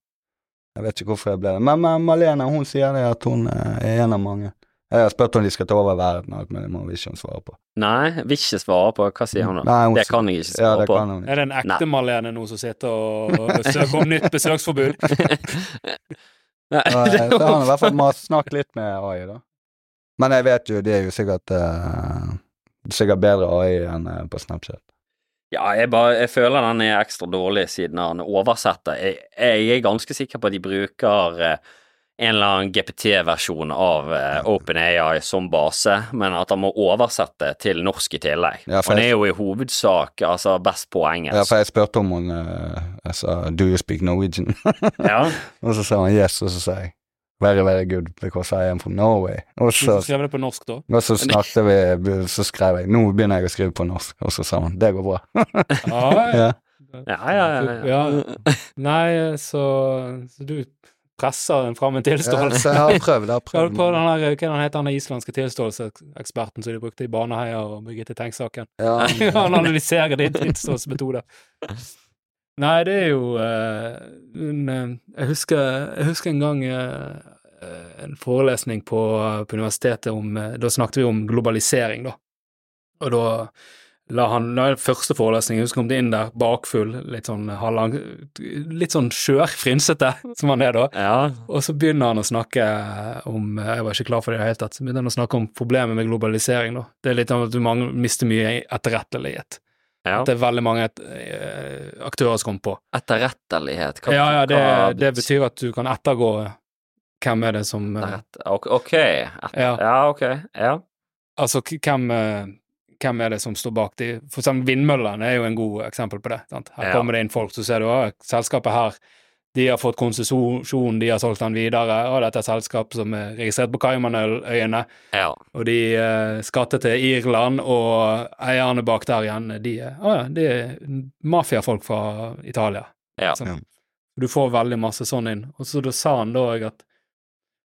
B: Jeg vet ikke hvorfor jeg ble det. Men, men Malene hun sier det at hun eh, er en av mange. Jeg har spurt om de skal ta over verden, og alt, men det må vi ikke svare på.
C: Nei, vil ikke svare på. Hva sier hun da?
B: Mm. Nei, hun
C: Det
B: sier-
C: kan jeg ikke
B: Ja,
C: svare
B: det
C: på.
B: kan hun.
A: Er det en ekte Marlene nå som sitter og og søker om nytt besøksforbud?
C: Nei,
B: Ja,
C: det
B: jeg- Så han har i hvert fall mast snakket litt med AI, da. Men jeg vet jo, det er jo sikkert eh, Sikkert bedre AI enn eh, på Snapchat.
C: Ja, jeg, bare, jeg føler den er ekstra dårlig siden han oversetter. Jeg, jeg er ganske sikker på at de bruker eh, en eller annen GPT-versjon av eh, OpenAI som base, men at han må oversette til norsk i tillegg.
B: Ja, for
C: han
B: jeg-
C: er jo i hovedsak altså, best på
B: Ja,
C: engelsk.
B: for jeg spurte om hun eh, Jeg sa 'Do you speak Norwegian?'
C: Ja,
B: og så sa hun 'yes', og så sa jeg 'Very, very good because I am from Norway'. Og
A: Hvis du
B: så,
A: skrev det på norsk, da?
B: og så snakket vi Så skrev jeg 'Nå begynner jeg å skrive på norsk', og så sa hun 'Det går bra'.
A: Ja,
B: Ja.
C: ja, ja. ja, ja.
A: Nei, så, så du presser en fram en
B: Ja,
A: tilståelse.
B: så jeg har prøvd, jeg har
A: Ja, du
B: prøvd.
A: prøver den her, hva er den heter den islandske tilståelseseksperten som de brukte i Baneheia og Birgitte Tengs-saken?
B: Ja,
A: Han analyserer din tilståelsesmetode. Nei, det er jo eh, en, eh, jeg, husker, jeg husker en gang eh, eh, en forelesning på, på universitetet om eh, Da snakket vi om globalisering, da. Og da la han la den første forelesningen, jeg husker han kom inn der bakfull, litt sånn halvlang, litt sånn skjør, frynsete, som han er da. Og så begynner han å snakke om Jeg var ikke klar for det i det hele tatt. Så begynner han å snakke om problemet med globalisering, da. Det er litt om at du mangler, mister mye etterrettelighet.
C: ja.
A: At det er veldig mange et, eh, aktører som kommer på.
C: Etterrettelighet. hva-
A: ja, ja, det,
C: hva-
A: det betyr at du kan ettergå hvem er det som eh,
C: Etterrett- Ok, ok. Etter, ja.
A: Ja.
C: ok. Ja.
A: Altså, k- hvem, eh, hvem er det som står bak de For eksempel vindmøllene er jo en god eksempel på det. Sant? Her
C: Ja.
A: kommer det inn folk, så ser du at selskapet her de har fått konsesjon, de har solgt den videre, og dette er et selskap som er registrert på Caymanøyene.
C: ja.
A: Og de eh, skattet til Irland, og eierne bak der igjen, de er Å ja, de er mafiafolk fra Italia.
C: Ja.
A: Så
B: Ja.
A: Du får veldig masse sånn inn. Og så da sa han da òg at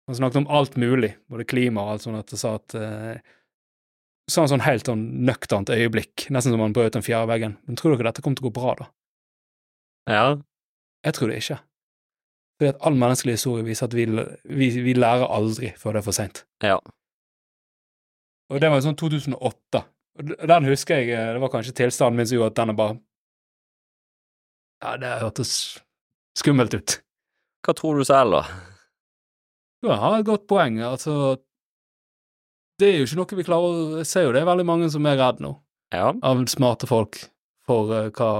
A: Han snakket om alt mulig, både klima og alt sånt, at han sa at eh, Sa han sånn helt sånn nøkternt øyeblikk, nesten som han brøt den fjerde veggen. Men tror dere dette kommer til å gå bra, da?
C: ja.
A: Jeg tror det ikke. Fordi at all menneskelig historie viser at vi, vi, vi lærer aldri før det er for seint.
C: Ja.
A: Og det var jo sånn 2008. Og d- Den husker jeg eh, Det var kanskje tilstanden min som gjorde at den er bare Ja, det hørtes skummelt ut.
C: Hva tror du selv, da?
A: Du har et godt poeng. Altså Det er jo ikke noe vi klarer å Jeg ser jo det er veldig mange som er redd nå,
C: Ja.
A: av smarte folk, for eh, hva,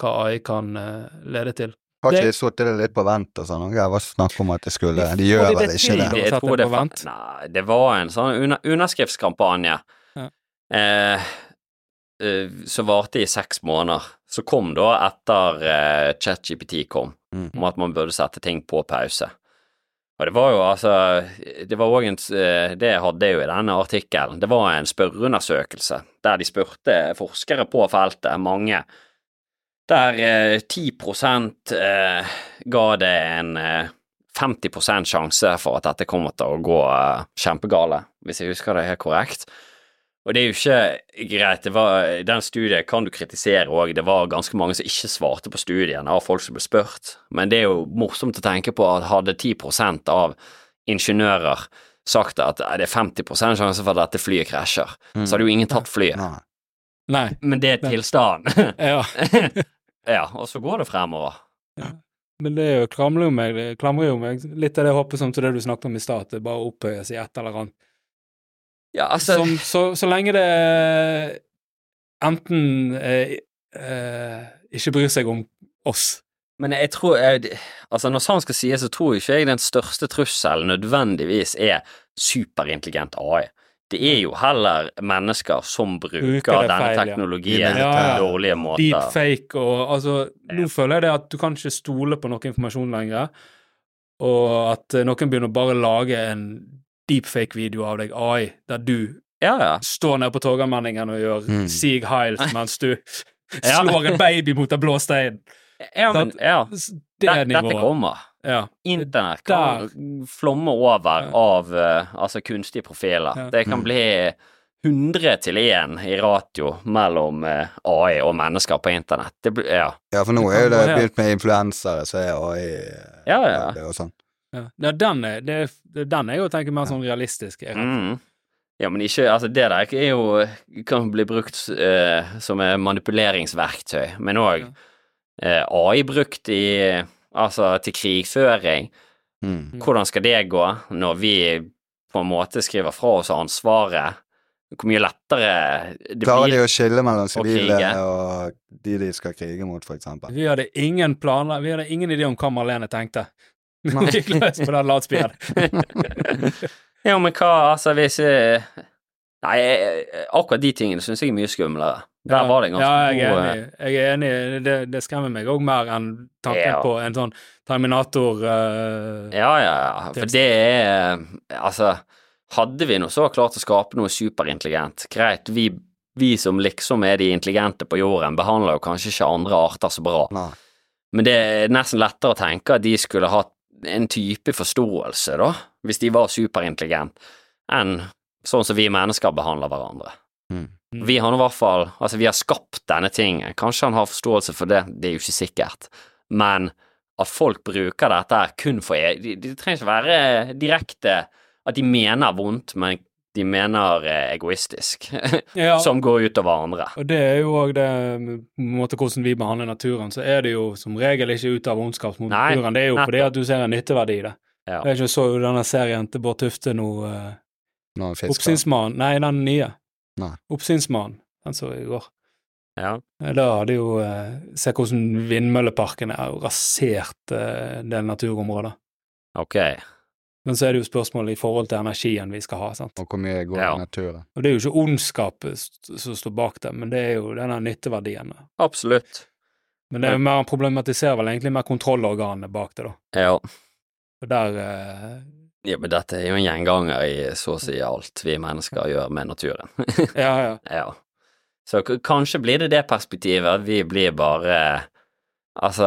A: hva AI kan eh, lede til.
B: Har ikke
A: Det-
B: de sittet litt på vent og sånn? og Jeg var snakk om at jeg skulle
A: Vi
B: De gjør
A: får de
B: vel
A: det
B: ikke
A: til.
B: det?
A: Det-
C: Jeg
A: satt det
C: tror det
A: på
C: fa-
A: vent?
C: Nei, det var en sånn under, underskriftskampanje
A: Ja.
C: eh, eh, som varte i seks måneder. Som kom da etter eh, ChatGPT kom,
B: Mm.
C: om at man burde sette ting på pause. Og det var jo altså Det var òg en s- eh, Det jeg hadde jo i denne artikkelen. Det var en spørreundersøkelse der de spurte forskere på feltet, mange, der eh, 10 eh, ga det en eh, 50 sjanse for at dette kommer til å gå eh, kjempegale, hvis jeg husker det helt korrekt. Og det er jo ikke greit, det var, den studien kan du kritisere òg, det var ganske mange som ikke svarte på studien av folk som ble spurt, men det er jo morsomt å tenke på at hadde 10 av ingeniører sagt at eh, det er 50 sjanse for at dette flyet krasjer,
B: Mm.
C: så hadde jo ingen tatt flyet.
B: Nei.
A: Nei.
C: Mm. Men det er
A: Men-
C: tilstanden.
A: Ja.
C: ja, og så går det fremover.
A: Men det er jo, klamrer jo meg, det klamrer jo meg litt av det hoppet som til det du snakket om i stad, at det bare opphøyes i et eller annet.
C: Ja, altså
A: Som, så, så lenge det enten eh, eh, ikke bryr seg om oss
C: Men jeg tror jeg, Altså, når sant skal sies, så tror ikke jeg den største trusselen nødvendigvis er superintelligent AI. Det er jo heller mennesker som bruker
A: Bruker det
C: denne
A: feil, ja.
C: teknologien
B: Ja,
A: ja.
C: på dårlige måter.
A: Deepfake og altså Nå føler jeg det at du kan ikke stole på noe informasjon lenger, og at eh, noen begynner bare å lage en deepfake-video av deg, AI, der du
C: Ja, ja.
A: står nede på Torgallmenningen og gjør
B: Mm.
A: Sieg Heil mens du
C: Hmm. Ja.
A: slår en baby mot en blå stein.
C: ja, men, ja.
A: S- Det
C: Det,
A: er
C: dette
A: nivået.
C: kommer.
A: Ja.
C: Internett kan flomme over
A: Ja.
C: av eh, altså kunstige profiler.
A: Ja.
C: Det kan
B: Mm.
C: bli 100 til 1 i ratio mellom eh, AI og mennesker på internett. Det blir Ja.
B: Ja, for nå
A: Det
B: er jo
A: kan
B: det
A: gå helt-
B: begynt med influensere, så er AI
C: Ja, ja.
B: det og sånn.
A: Ja. ja, den er, det er, det er den er jo å tenke mer sånn realistisk. Jeg. rett.
C: Mm. Ja, men ikke Altså, det der er jo Kan bli brukt eh, som et manipuleringsverktøy, men òg eh, AI brukt i Altså til krigføring.
B: Mm.
C: Hvordan skal det gå når vi på en måte skriver fra oss ansvaret Hvor mye lettere det
B: Klarer de
C: blir.
B: å skille mellom
C: å
B: sivile
C: krige.
B: og de de skal krige mot, for eksempel?
A: Vi hadde ingen planer, vi hadde ingen idé om hva Marlene tenkte.
B: Nei.
A: Hun gikk løs på den ladespiren.
C: ja, men hva, altså, hvis eh, Nei, eh, akkurat de tingene syns jeg er mye skumlere. Der var det en ganske
A: Ja, jeg er
C: god eh,
A: enig. Jeg er enig. Det, det skremmer meg òg mer enn tanken
C: Ja.
A: på en sånn Terminator eh,
C: Ja, ja, ja. For
A: Tips.
C: det er Altså, hadde vi nå så klart å skape noe superintelligent, greit, vi, vi som liksom er de intelligente på jorden, behandler jo kanskje ikke andre arter så bra,
B: Nei.
C: men det er nesten lettere å tenke at de skulle hatt en type forståelse, da, hvis de var superintelligente, enn sånn som vi mennesker behandler hverandre.
B: Mm.
C: Vi har nå i hvert fall Altså, vi har skapt denne tingen. Kanskje han har forståelse for det, det er jo ikke sikkert. Men at folk bruker dette her kun for e- de- Det trenger ikke være direkte at de mener vondt, men de mener eh, egoistisk,
A: ja.
C: som går utover andre.
A: Og det er jo òg det på en måte hvordan vi behandler naturen, så er det jo som regel ikke ut av ondskap mot
C: Nei,
A: naturen. Det er jo fordi at du ser en nytteverdi i det.
C: Ja.
A: Jeg ikke så jo denne serien til Bård Tufte nå eh,
B: Når en fisker.
A: Oppsynsmannen. Nei, den nye.
B: Nei.
A: Oppsynsmannen. Den så jeg i går.
C: Ja.
A: Eh, Da hadde jo eh, Se hvordan vindmølleparken er og rasert eh, en del naturområder.
C: Ok.
A: Men så er det jo spørsmålet i forhold til energien vi skal ha. sant?
B: Og hvor mye går
C: Ja.
B: i naturen.
A: Og det er jo ikke ondskap som står bak det, men det er jo denne nytteverdien. da.
C: Absolutt.
A: Men det er jo mer han problematiserer vel egentlig mer kontrollorganene bak det, da.
C: Ja.
A: Og der eh,
C: ja, men dette er jo en gjenganger i så å si alt vi mennesker gjør med naturen.
A: Ja, ja.
C: Ja. Så k- kanskje blir det det perspektivet, at vi blir bare Altså,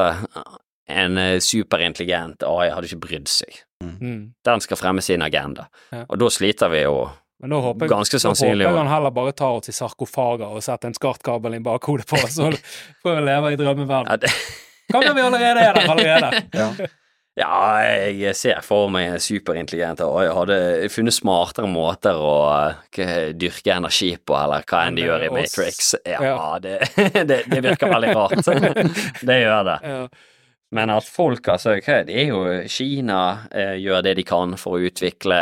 C: en eh, superintelligent AI hadde ikke brydd seg.
A: Mm.
C: Den skal fremme sin agenda.
A: Ja.
C: Og da sliter vi jo
A: Men da håper jeg,
C: Ganske sannsynlig,
A: Da håper
C: ja.
A: jeg han heller bare tar oss i sarkofager og setter en skartkabel i bakhodet på oss, og får vi leve i drømmeverden.
C: Ja, det-
A: Kanskje vi allerede er der allerede?
B: Ja.
C: Ja, jeg ser for meg en superintelligent AI hadde funnet smartere måter å eh, k- dyrke energi på, eller hva enn de
A: Men,
C: gjør i
A: eh, oss-
C: Matrix. Ja,
A: ja.
C: det, det, det virker veldig rart. Det gjør det.
A: Ja.
C: Men at folk, altså, hva, det er jo Kina eh, gjør det de kan for å utvikle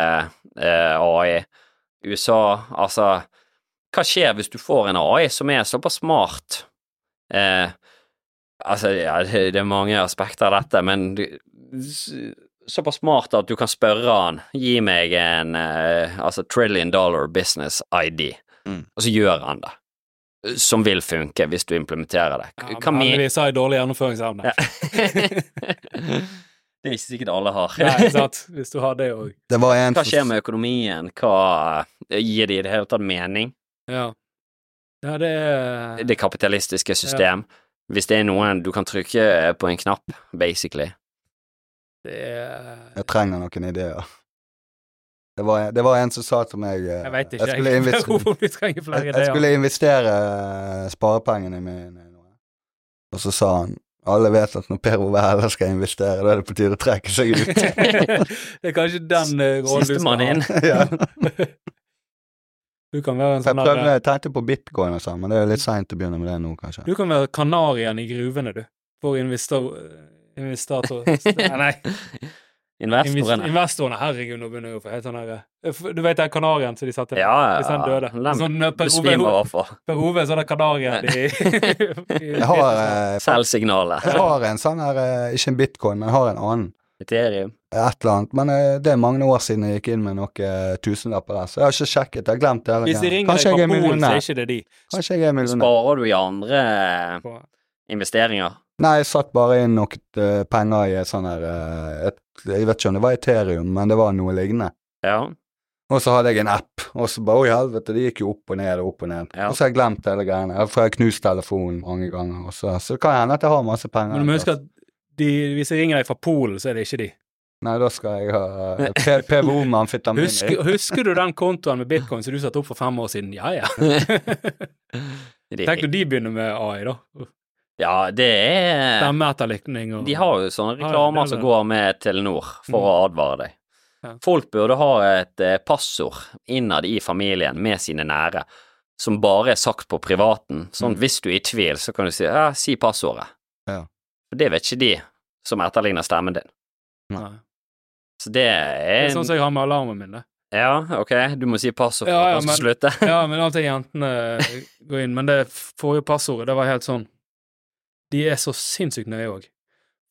C: eh, AI. USA, altså Hva skjer hvis du får en AI som er såpass smart? Eh, altså, ja, det, det er mange aspekter av dette, men du, s- såpass smart at du kan spørre han Gi meg en eh, altså trillion dollar business ID,
B: Mm.
C: og så gjør han det. eh, Som vil funke hvis du implementerer det.
A: Ja,
C: Hva
A: men
C: me-
A: heldigvis har jeg dårlig gjennomføringsevne.
C: ja. det er ikke sikkert alle har.
A: Nei, sant. Hvis du har det òg.
B: Det var en
C: Hva skjer
B: som-
C: med økonomien? Hva Gir det i det hele tatt mening?
A: Ja. ja, det er
C: Det kapitalistiske system. Hvis det er noen du kan trykke eh, på en knapp, basically.
A: Det er
B: Jeg trenger noen ideer. Det var, en, det var en som sa til meg eh,
A: Jeg veit ikke,
B: jeg skulle,
A: jeg.
B: invest-
A: Hvorfor vi trenger flere
B: jeg, jeg
A: ideer.
B: skulle investere eh, sparepengene mine i noe. Og så sa han alle vet at når Per Ove Heller skal investere, da er det på tide å trekke seg ut.
A: det er kanskje den eh, rollen du
C: Sistemann inn.
B: ja.
A: Du kan være en
B: Jeg
A: sånn
B: prøvde,
A: der,
B: jeg tenkte på bitcoin og sånn, men det er jo litt seint å begynne med det nå, kanskje.
A: Du kan være kanarien i gruvene, du. For investor... Investator... Nei, invest-
C: Investorene.
A: investorene. Herregud, nå begynner jeg å få helt sånn her eh, f- Du vet den kanarien som de satte
C: Ja,
A: Hvis han
C: ja.
A: døde.
C: Lem.
A: Sånn eh,
C: Du
A: Per
C: svimer i
A: Ove-
C: hvert fall.
A: Per Ove, sånn der kanarien i, i
B: Jeg har, eh,
C: Selvsignalet.
B: jeg har en sånn her, eh, ikke en bitcoin, men jeg har en annen.
C: Ethereum.
B: Et eller annet. Men eh, det er mange år siden jeg gikk inn med noen eh, tusenlapper der, så jeg har ikke sjekket. Jeg har glemt det. hele
A: Hvis de
B: greia.
A: ringer deg
B: Kanskje jeg
A: fra
B: er
A: Polen, så er
B: millionær.
A: ikke det de.
B: Kanskje jeg er millionær.
C: Sparer du i andre eh, investeringer?
B: Nei, jeg satt bare inn noen eh, penger i et sånn her eh, et, Jeg vet ikke om det var Ethereum, men det var noe lignende.
C: Ja.
B: Og så hadde jeg en app, og så bare Å, i helvete, det gikk jo opp og ned og opp og ned.
C: Ja.
B: Og så har jeg glemt hele greiene. Jeg- For jeg har knust telefonen mange ganger, og så, så det kan hende at jeg har masse penger.
A: Men du må huske at de, hvis jeg ringer deg fra Polen, så er det ikke de.
B: Nei, da skal jeg ha eh, P- PVO med amfetamin. i.
A: Husker, husker du den kontoen med bitcoin som du satte opp for fem år siden? Ja, ja. Tenk når de begynner med AI, da.
C: Ja, det er
A: Stemmeetterlikning og
C: De har jo sånne
A: Ja, ja,
C: reklamer
A: det er
C: som
A: det. Mm.
C: går med Telenor for å advare deg.
A: Ja.
C: Folk burde ha et eh, passord innad i familien med sine nære, som bare er sagt på privaten. Sånn
A: Mm.
C: at hvis du er i tvil, så kan du si ja, si passordet.
B: Ja.
C: For det vet ikke de som etterligner stemmen din.
A: Nei.
C: Så det
A: Det
C: er
A: er sånn som jeg har med alarmen min, det.
C: Ja, ok, du må si passord
A: sånn
C: for
A: Ja, ja,
C: at han skal
A: men-
C: slutte.
A: Ja, men av og til jentene går inn. Men det forrige passordet, det var helt sånn De er så sinnssykt nøye òg.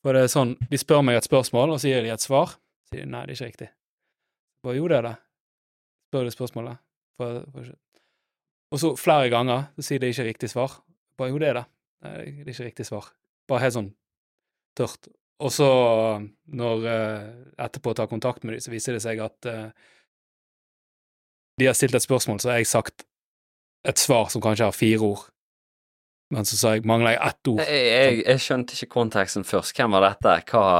A: For det er sånn, de spør meg et spørsmål, og så gir de et svar. Så sier de nei, det er ikke riktig. Hva jo, det er det. Spør de spørsmålet. Bare, bare ikke. Og så flere ganger så sier de ikke riktig svar. Bare jo, det er det. Nei, det er ikke riktig svar. Bare helt sånn tørt. Og så, når eh, etterpå tar kontakt med dem, så viser det seg at eh, de har stilt et spørsmål, så har jeg sagt et svar som kanskje har fire ord. Men så sa jeg mangler jeg ett ord.
C: Jeg, jeg, jeg skjønte ikke konteksten først. Hvem var dette? Hva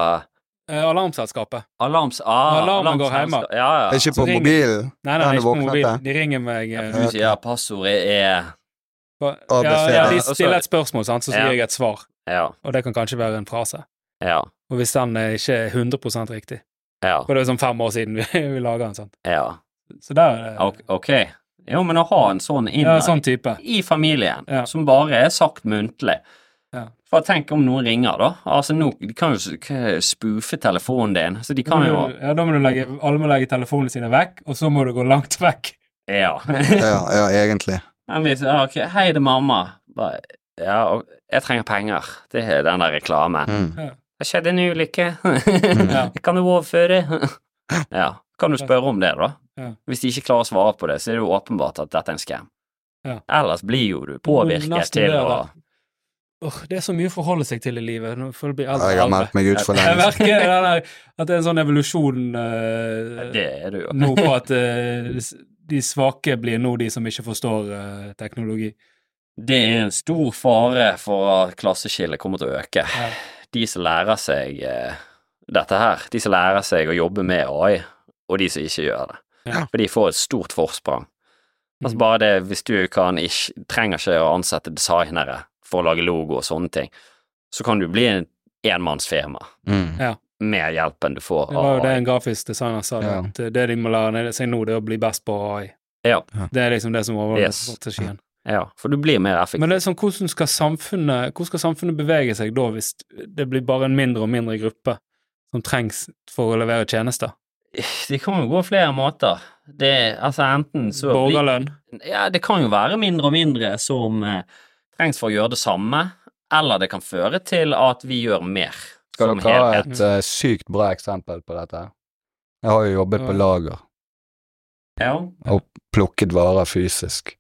A: Eh, alarmselskapet.
C: Alarms... Ah,
A: Alarmen går hjemme.
C: alarmselskap. Ja, ja.
B: Ikke
A: så
B: på
A: ringer-
B: mobilen.
A: Nei, nei,
B: Ja, det
A: ikke på
B: våknet,
A: mobilen.
B: det.
A: De ringer meg eh,
C: Du sier ja, passordet er
A: på, ja,
B: ABC.
A: ja, De
C: Ja, og så-
A: stiller et spørsmål, sant? så sier
C: Ja.
A: jeg et svar.
C: Ja,
A: Og det kan kanskje være en frase.
C: ja,
A: Og hvis den eh, ikke er 100 riktig
C: ja.
A: For det er sånn fem år siden vi, vi laga den, sant.
C: ja.
A: Så der er det
C: Ok. ok. Jo, men å ha en sånn inn
A: ja, sånn type.
C: i familien,
A: Ja.
C: som bare er sagt muntlig.
A: Ja.
C: For tenk om noen ringer, da. Altså, nå, De kan jo ikke spoofe telefonen din, så de kan
A: Da
C: jo
A: må du- ja, da må du legge, alle må legge telefonene sine vekk, og så må du gå langt vekk.
C: Ja.
B: Ja, ja, egentlig.
C: Han viser ja, ok, 'Hei, det er mamma'. Bare, ja, og jeg trenger penger. Det er den der reklamen.
B: Mm.
C: Det skjedde en ulykke.
A: Ja.
C: Kan du overføre? ja. Kan du spørre om det, da?
A: Ja.
C: Hvis de ikke klarer å svare på det, så er det jo åpenbart at dette er en skam.
A: Ja.
C: Ellers blir jo du påvirket
A: Nesten
C: til
A: det,
C: å
A: da. Åh, det er så mye å forholde seg til i livet. Nå får det bli eldre
B: Jeg har
A: og eldre.
B: meldt meg ut for
A: Jeg
B: lenge siden.
A: merker det der, at det er en sånn evolusjon eh,
C: Det er du jo.
A: nå på at eh, s- de svake blir nå de som ikke forstår eh, teknologi.
C: Det er en stor fare for at klasseskillet kommer til å øke.
A: Ja.
C: De som lærer seg eh, dette her, de som lærer seg å jobbe med AI, og de som ikke gjør det.
A: Ja.
C: For de får et stort forsprang. Altså
A: Mm.
C: bare det, hvis du kan ikke, trenger ikke å ansette designere for å lage logo og sånne ting, så kan du bli en enmannsfirma
B: Mm.
C: med hjelpen du får
A: Det var jo
C: av
A: det
C: AI.
A: en grafisk designer sa,
B: Ja.
A: at eh, det de må lære seg nå, det er å bli best på AI.
C: Ja.
A: Det er liksom det som overholder
C: Yes.
A: strategien.
C: Ja, for du blir mer effektiv.
A: Men det er sånn, hvordan skal, samfunnet, hvordan skal samfunnet bevege seg da, hvis det blir bare en mindre og mindre gruppe som trengs for å levere tjenester?
C: Det kan jo gå flere måter. Det, altså enten så blir-
A: Borgerlønn?
C: Ja, det kan jo være mindre og mindre som eh, trengs for å gjøre det samme, eller det kan føre til at vi gjør mer.
B: Skal
C: som
B: dere ha
C: helhet.
B: et eh, sykt bra eksempel på dette? Jeg har jo jobbet på
A: Ja.
B: lager,
C: Ja.
B: plukket varer fysisk.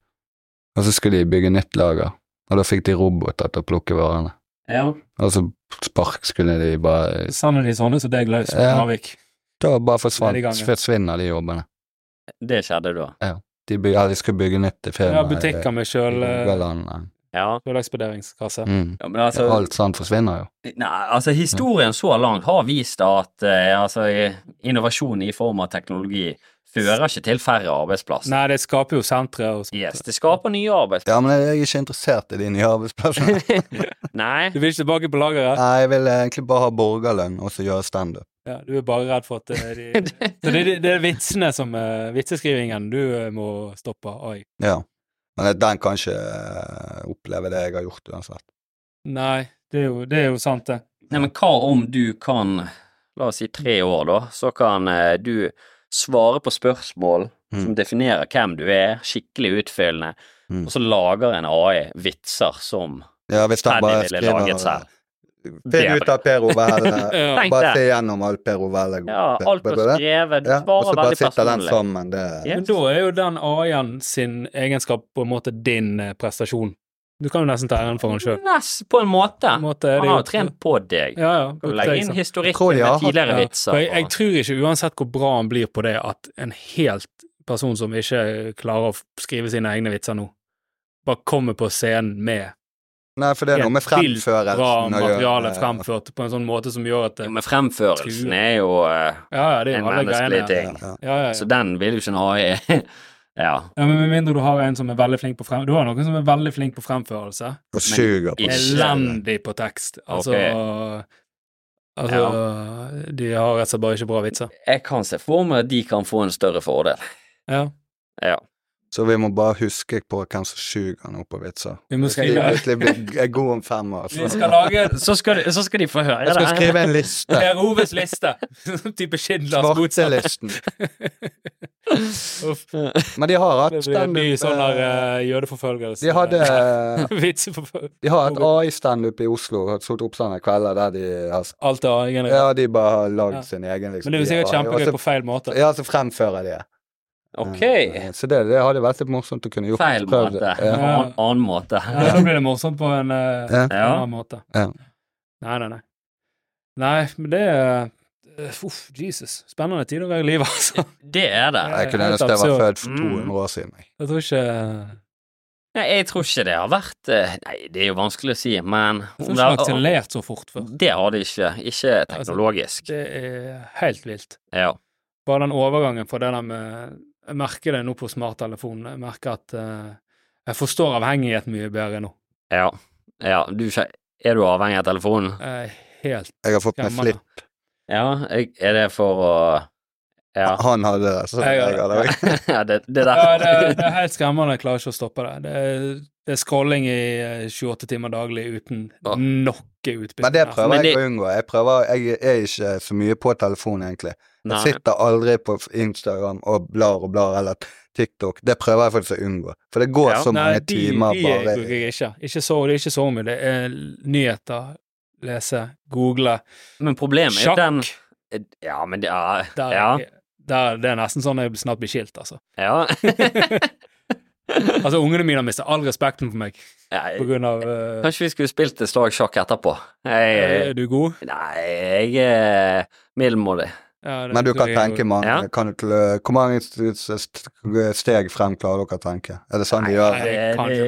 B: Og så skulle de bygge nytt lager, og da fikk de roboter til å plukke varene.
C: ja.
B: Og så spark skulle de bare
A: Sanner de sånne som deg løs på
B: Ja.
A: Narvik?
B: Da bare forsvant,
A: Det er i gang, ja.
B: forsvinner de jobbene.
C: Det skjedde da.
B: De, byg, ja, de skulle bygge nytt i firmaet.
A: Ja, butikker med
B: i
A: kjøl, eh,
B: Rogaland, ja.
C: Ja.
A: kjølekspederingskasse.
B: Mm.
C: ja men altså,
B: Alt sånt forsvinner jo.
C: nei, altså, historien så langt har vist at eh, altså, innovasjon i form av teknologi fører ikke til færre arbeidsplasser.
A: Nei, det skaper jo sentre og sånt.
C: Yes, det skaper nye arbeidsplasser.
B: Ja, men jeg er ikke interessert i de nye arbeidsplassene.
C: Nei,
A: Du vil ikke tilbake på lageret?
B: Nei, jeg vil egentlig bare ha borgerlønn og så gjøre standup.
A: Ja, du er bare redd for at eh, de Så det, det er vitsene som eh, Vitseskrivingen du eh, må stoppe. Oi.
B: Ja. Men den kan ikke eh, oppleve det jeg har gjort uansett.
A: Nei, det er jo, det er jo sant, det.
C: Nei, men hva om du kan, la oss si tre år da, så kan eh, du svare på spørsmål
B: Mm.
C: som definerer hvem du er, skikkelig utfyllende,
B: Mm.
C: og så lager en AI vitser som
B: Ja, hvis han
C: Teddy
B: bare
C: ville
B: skriver eh,
C: laget selv. Det
B: Finn
C: er
B: ut av Per Ove Helle.
A: Ja.
C: Tenk
B: Bare
C: det.
B: se gjennom alt Per Ove Helle
C: Ja, alt blir skrevet, du
B: Ja, og så
C: svarer
B: bare
C: veldig
B: sitter den
C: personlig.
B: sammen. Det er
C: Ja.
A: Men da er jo den AI-en sin egenskap på en måte din eh, prestasjon. Du kan jo nesten ta æren for den sjøl.
C: Ness, på en måte.
A: På en måte er det
C: Han har jo
A: jo-
C: trent på deg.
A: Ja, ja.
C: Kan du
A: brukte
C: legge
A: jeg som-
C: inn
B: Tror
C: historikken
B: de
C: med
B: har hatt-
C: tidligere
A: Ja, for
C: vitser.
A: jeg, jeg tror ikke, uansett hvor bra han blir på det, at en helt person som ikke klarer å f- skrive sine egne vitser nå, bare kommer på scenen med
B: Nei, for det er noe med
A: helt vilt bra
B: fremførelsen å
A: materiale
B: gjøre.
A: fremført på en sånn måte som gjør at det,
C: Jo, Men fremførelsen er jo eh,
A: Ja, ja, det er
C: en
A: jo alle
C: menneskelig
A: greiene.
C: ting,
B: Ja, ja.
A: Ja, ja,
C: så
A: ja.
C: den vil jo ikke en AI Ja.
A: ja, men Med mindre du har en som er veldig flink på frem... Du har noen som er veldig flink på fremførelse.
B: Og suger på
C: Ikke-
A: Elendig på tekst. Altså Altså, de har rett og slett bare ikke bra vitser.
C: Jeg kan se for meg at de kan få en større fordel.
A: Ja.
C: Ja.
B: Så vi må bare huske på hvem som suger nå på vitser.
A: Vi må
B: Hvis de
A: skrive
B: plutselig blir er god om fem år.
A: Vi
B: Så.
A: skal lage
D: Så skal, de- så skal de få høre
B: Jeg skal
D: det.
B: skrive en liste.
A: Per Oves liste. Sånn type Schindlers motsatt.
B: Svartelisten.
A: Uff,
B: Men de har hatt
A: det blir en
B: standup
A: ny sånn der
B: eh,
A: eh, jødeforfølgelse.
B: De hadde eh,
A: Vitseforfølgelse.
B: De har et AI-standup i Oslo, og solgt opp sånne kvelder der de har
A: Alt det andre. generelt.
B: Ja, de bare har lagd
A: Ja.
B: sin egen, liksom.
A: Men det er jo sikkert
B: Ja, og
A: kjempegøy
B: så-
A: på feil måte.
B: Ja, så fremfører de det.
C: Ok.
B: Ja, Så det, det hadde vært litt morsomt å kunne gjort.
C: Feil
B: Prøvd
C: måte.
B: det. Ja.
C: Annen, annen måte.
A: Ja, da blir det morsomt på en eh,
B: Ja.
A: en annen måte.
B: Ja.
A: Nei, nei, nei. Nei, men det er eh, Uff, Jesus. Spennende tider å være i livet, altså.
C: Det er det.
B: Jeg kunne
A: Helt
B: ønske jeg var
A: absurd.
B: født for
C: Mm.
B: 200 år siden. jeg.
A: Jeg tror ikke
C: Nei, jeg tror ikke det har vært eh, Nei, det er jo vanskelig å si,
A: Jeg
C: men om
A: tror ikke det har
C: det,
A: akselerert så fort før.
C: det har det ikke. Ikke teknologisk.
A: Det er helt vilt.
C: Ja.
A: Bare den overgangen fra det der med Jeg merker det nå på smarttelefonen. Jeg merker at eh, jeg forstår avhengighet mye bedre nå.
C: Ja. ja. Du, skje- er du avhengig av telefonen?
A: Jeg er helt
B: Jeg har fått med
A: skremmende.
B: Flipp.
C: Ja. jeg- Er det for å Ja.
B: Han hadde det, så
A: Jeg
B: jeg
A: har
B: hadde det. også.
C: ja det, det der.
A: Ja, det, er- det er helt skremmende. Jeg klarer ikke å stoppe det. Det er, det er scrolling i eh, 28 timer daglig uten
C: Ja.
A: noe utbytte.
B: Men det
A: nesten.
B: prøver
C: Men
B: jeg
C: det-
B: å unngå. Jeg prøver, jeg er ikke så mye på telefonen, egentlig. Jeg
C: Nei.
B: sitter aldri på Instagram og blar og blar, eller TikTok. Det prøver jeg faktisk å unngå, for det går
C: Ja.
B: så mange
A: Nei, de,
B: timer
A: de
B: bare
A: bruker jeg ikke. ikke så, det er ikke så mye. Det er nyheter, lese, google.
C: Men problemet er jo
A: Sjakk.
C: den Ja, men det ja,
A: Der,
C: ja,
A: er- der, det er nesten sånn jeg snart blir skilt, altså.
C: ja.
A: Altså, ungene mine har mistet all respekten for meg på
C: Nei,
A: grunn av eh,
C: Kanskje vi skulle spilt et slag sjakk etterpå. Jeg,
A: Er du god?
C: nei, jeg eh, er middelmådig.
A: Ja, det-
B: Men du kan
A: jeg-
B: tenke mange
C: Ja.
B: kan du, til- Hvor mange st- st- steg frem klarer dere å tenke? Er det sånn de
A: Nei,
B: gjør?
A: det er kanskje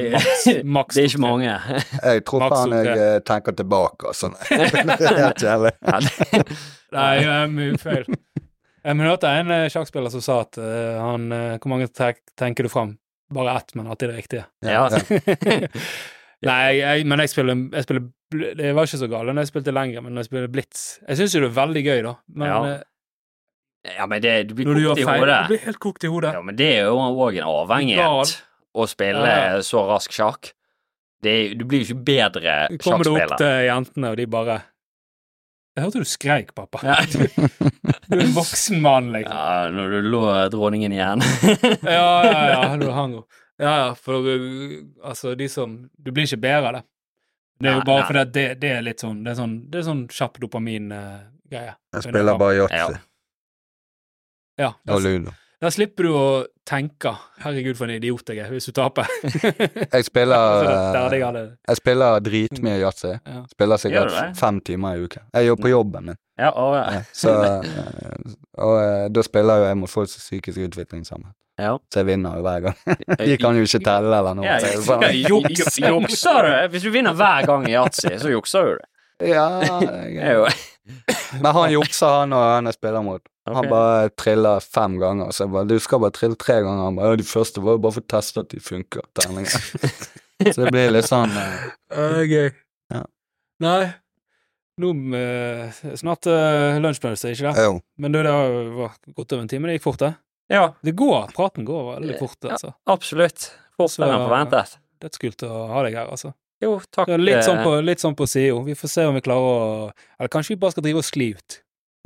A: maks,
C: Det-
A: maks
C: Det er ikke mange.
B: Jeg tror
A: maks
B: faen
A: opp
B: jeg eh, tenker tilbake og sånn. Det er helt kjedelig.
C: Ja, det-
A: Nei, det er mye feil. Jeg men hørte en eh, sjakkspiller som sa at eh, han eh, Hvor mange tek, tenker du fram? Bare ett, men alltid det riktige.
C: Ja.
A: Nei, jeg, men jeg spiller, jeg spiller bl- Det var ikke så galt når jeg spilte lenger, men når jeg spiller blitz Jeg syns jo det er veldig gøy, da, men
C: Ja,
A: eh,
C: ja, men det, du blir
A: når du
C: kokt
A: gjør
C: i
A: feil Du
C: hodet.
A: blir helt kokt i hodet.
C: Ja, men det er jo òg en avhengighet, å
A: Ja,
C: spille så rask sjakk. Det, er- du blir jo ikke bedre
A: Så Kommer du opp
C: sjakkspiller.
A: til jentene, og de bare Jeg hørte du skreik, pappa.
C: Ja.
A: Du er en voksen mann, liksom.
C: Ja, når du lå dronningen igjen.
A: Ja, ja, ja, du hang jo. Ja, ja, for uh, altså, de som Du blir ikke bedre av det. Det er jo
C: Nei,
A: bare
C: nei.
A: fordi at det, det er litt sånn Det er sånn, det er sånn kjapp eh, dopamin-greie.
B: Jeg spiller bare
C: Ja.
B: yatzy
A: Ja, da,
B: og ludo.
A: da slipper du å tenke 'herregud, for en idiot jeg er', hvis du taper.
B: Jeg
A: Altså,
B: spiller,
A: det er der jeg
B: eh,
A: hadde
B: jeg spiller dritmye yatzy.
A: Ja.
B: Spiller
C: Gjør du
B: sikkert
C: det?
B: fem timer i uken. Jeg jobber på jobben min,
C: Mm. Ja, å, ja.
B: så eh, Og eh, da spiller jo jeg mot folks psykisk utvikling sammen.
C: Ja.
B: Så jeg vinner jo hver gang. De kan jo ikke telle eller noe.
C: Ja,
B: så jeg er
C: ja,
B: bare-
C: juks- Jukser du? Hvis du vinner hver gang i yatzy, så jukser du det.
B: Ja,
C: Det
B: jeg,
C: er jo
B: Men han jukser, han og han jeg spiller mot. Han
C: Ok.
B: bare triller fem ganger. Så jeg bare, du skal bare trille tre ganger. Han bare, ja, de første var jo bare for å teste at de funker. Terninger. så det blir litt sånn eh,
A: Gøy.
B: Ja.
A: Nei. Nå eh, Snart uh, lunsjpause, ikke det?
B: Jo.
A: Men du, det har jo vært godt over en time. Det gikk fort, det.
C: Ja,
A: Det går. Praten går veldig fort,
C: Ja.
A: altså.
C: absolutt. Fortere enn
A: Så-
C: forventet.
A: Dødskult å ha deg her, altså.
C: Jo, takk.
A: Ja, litt, sånn
C: eh,
A: på, litt sånn på SIO. Vi får se om vi klarer å Eller kanskje vi bare skal drive og skli ut.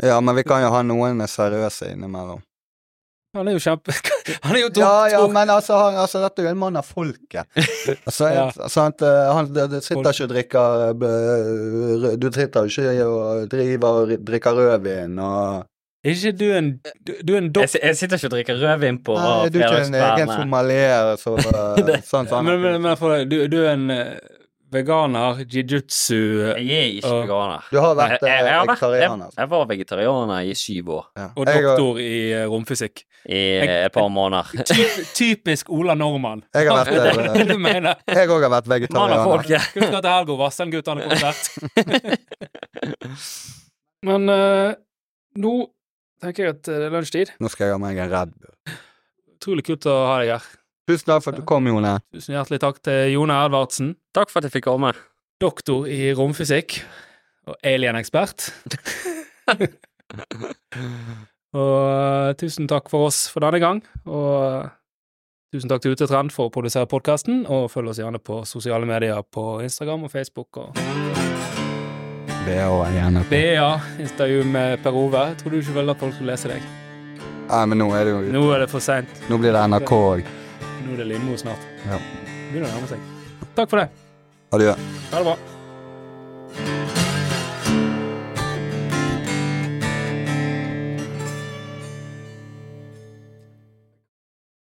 B: Ja, men vi kan jo ha noen seriøse innimellom.
A: Han er jo kjempe Han er jo doktor!
B: Ja, ja, men altså, han, altså dette er jo en mann av folket. Altså,
A: Ja.
B: jeg- sant, eh, han det, det sitter ikke og drikker eh, b- rød- Du sitter jo ikke og driver og drikker rødvin og
A: Er ikke du en Du, du er en
C: jeg,
A: doktor?
C: si- jeg sitter ikke og drikker rødvin på
B: Nei, du er ikke en egen
C: fredagskvelden.
B: somalier så, eh, sånn sånn.
A: Men, men, men for deg, du, du er en eh, veganer, eh, jijutsu
C: Jeg er ikke
A: Ja.
C: veganer.
B: Du har vært
C: Jeg- jeg- jeg
B: eh,
C: har vært-
B: vegetarianer.
C: Jeg, jeg var vegetarianer i syv år.
B: Ja.
A: og
B: Jeg, har-
A: doktor i eh, romfysikk.
C: I eh,
A: Jeg-
C: et par måneder.
A: Typ, typisk Ola Normann.
B: jeg har vært,
A: Det er det du mener.
B: eh, jeg òg har vært
C: Mann av
B: vegetarianer.
C: folket.
A: Husk at det er Helgo Vassendgutane konsert. Men eh, nå tenker jeg at eh, det er lunsjtid.
B: Nå skal jeg ha meg en Red Bull.
A: Utrolig kult å ha deg her.
B: Tusen takk for at du kom, Jone.
A: Tusen hjertelig takk til Jone Edvardsen.
C: Takk for at jeg fikk komme.
A: doktor i romfysikk og alien-ekspert. og eh, tusen takk for oss for denne gang, og eh, Tusen takk til Utetrend for å produsere podkasten, og følg oss gjerne på sosiale medier på Instagram og Facebook. og
B: Det er også jeg gjerne på.
A: BA, intervju med Per Ove. Jeg Trodde du ikke ville at folk skulle lese deg.
B: Nei, men nå er det jo
A: Nå er det for seint.
B: Nå blir det NRK òg.
A: Nå er det Lindmo snart.
B: Ja.
A: Begynner å nærme seg. Takk for det.
B: Adjø.
A: Ha det bra.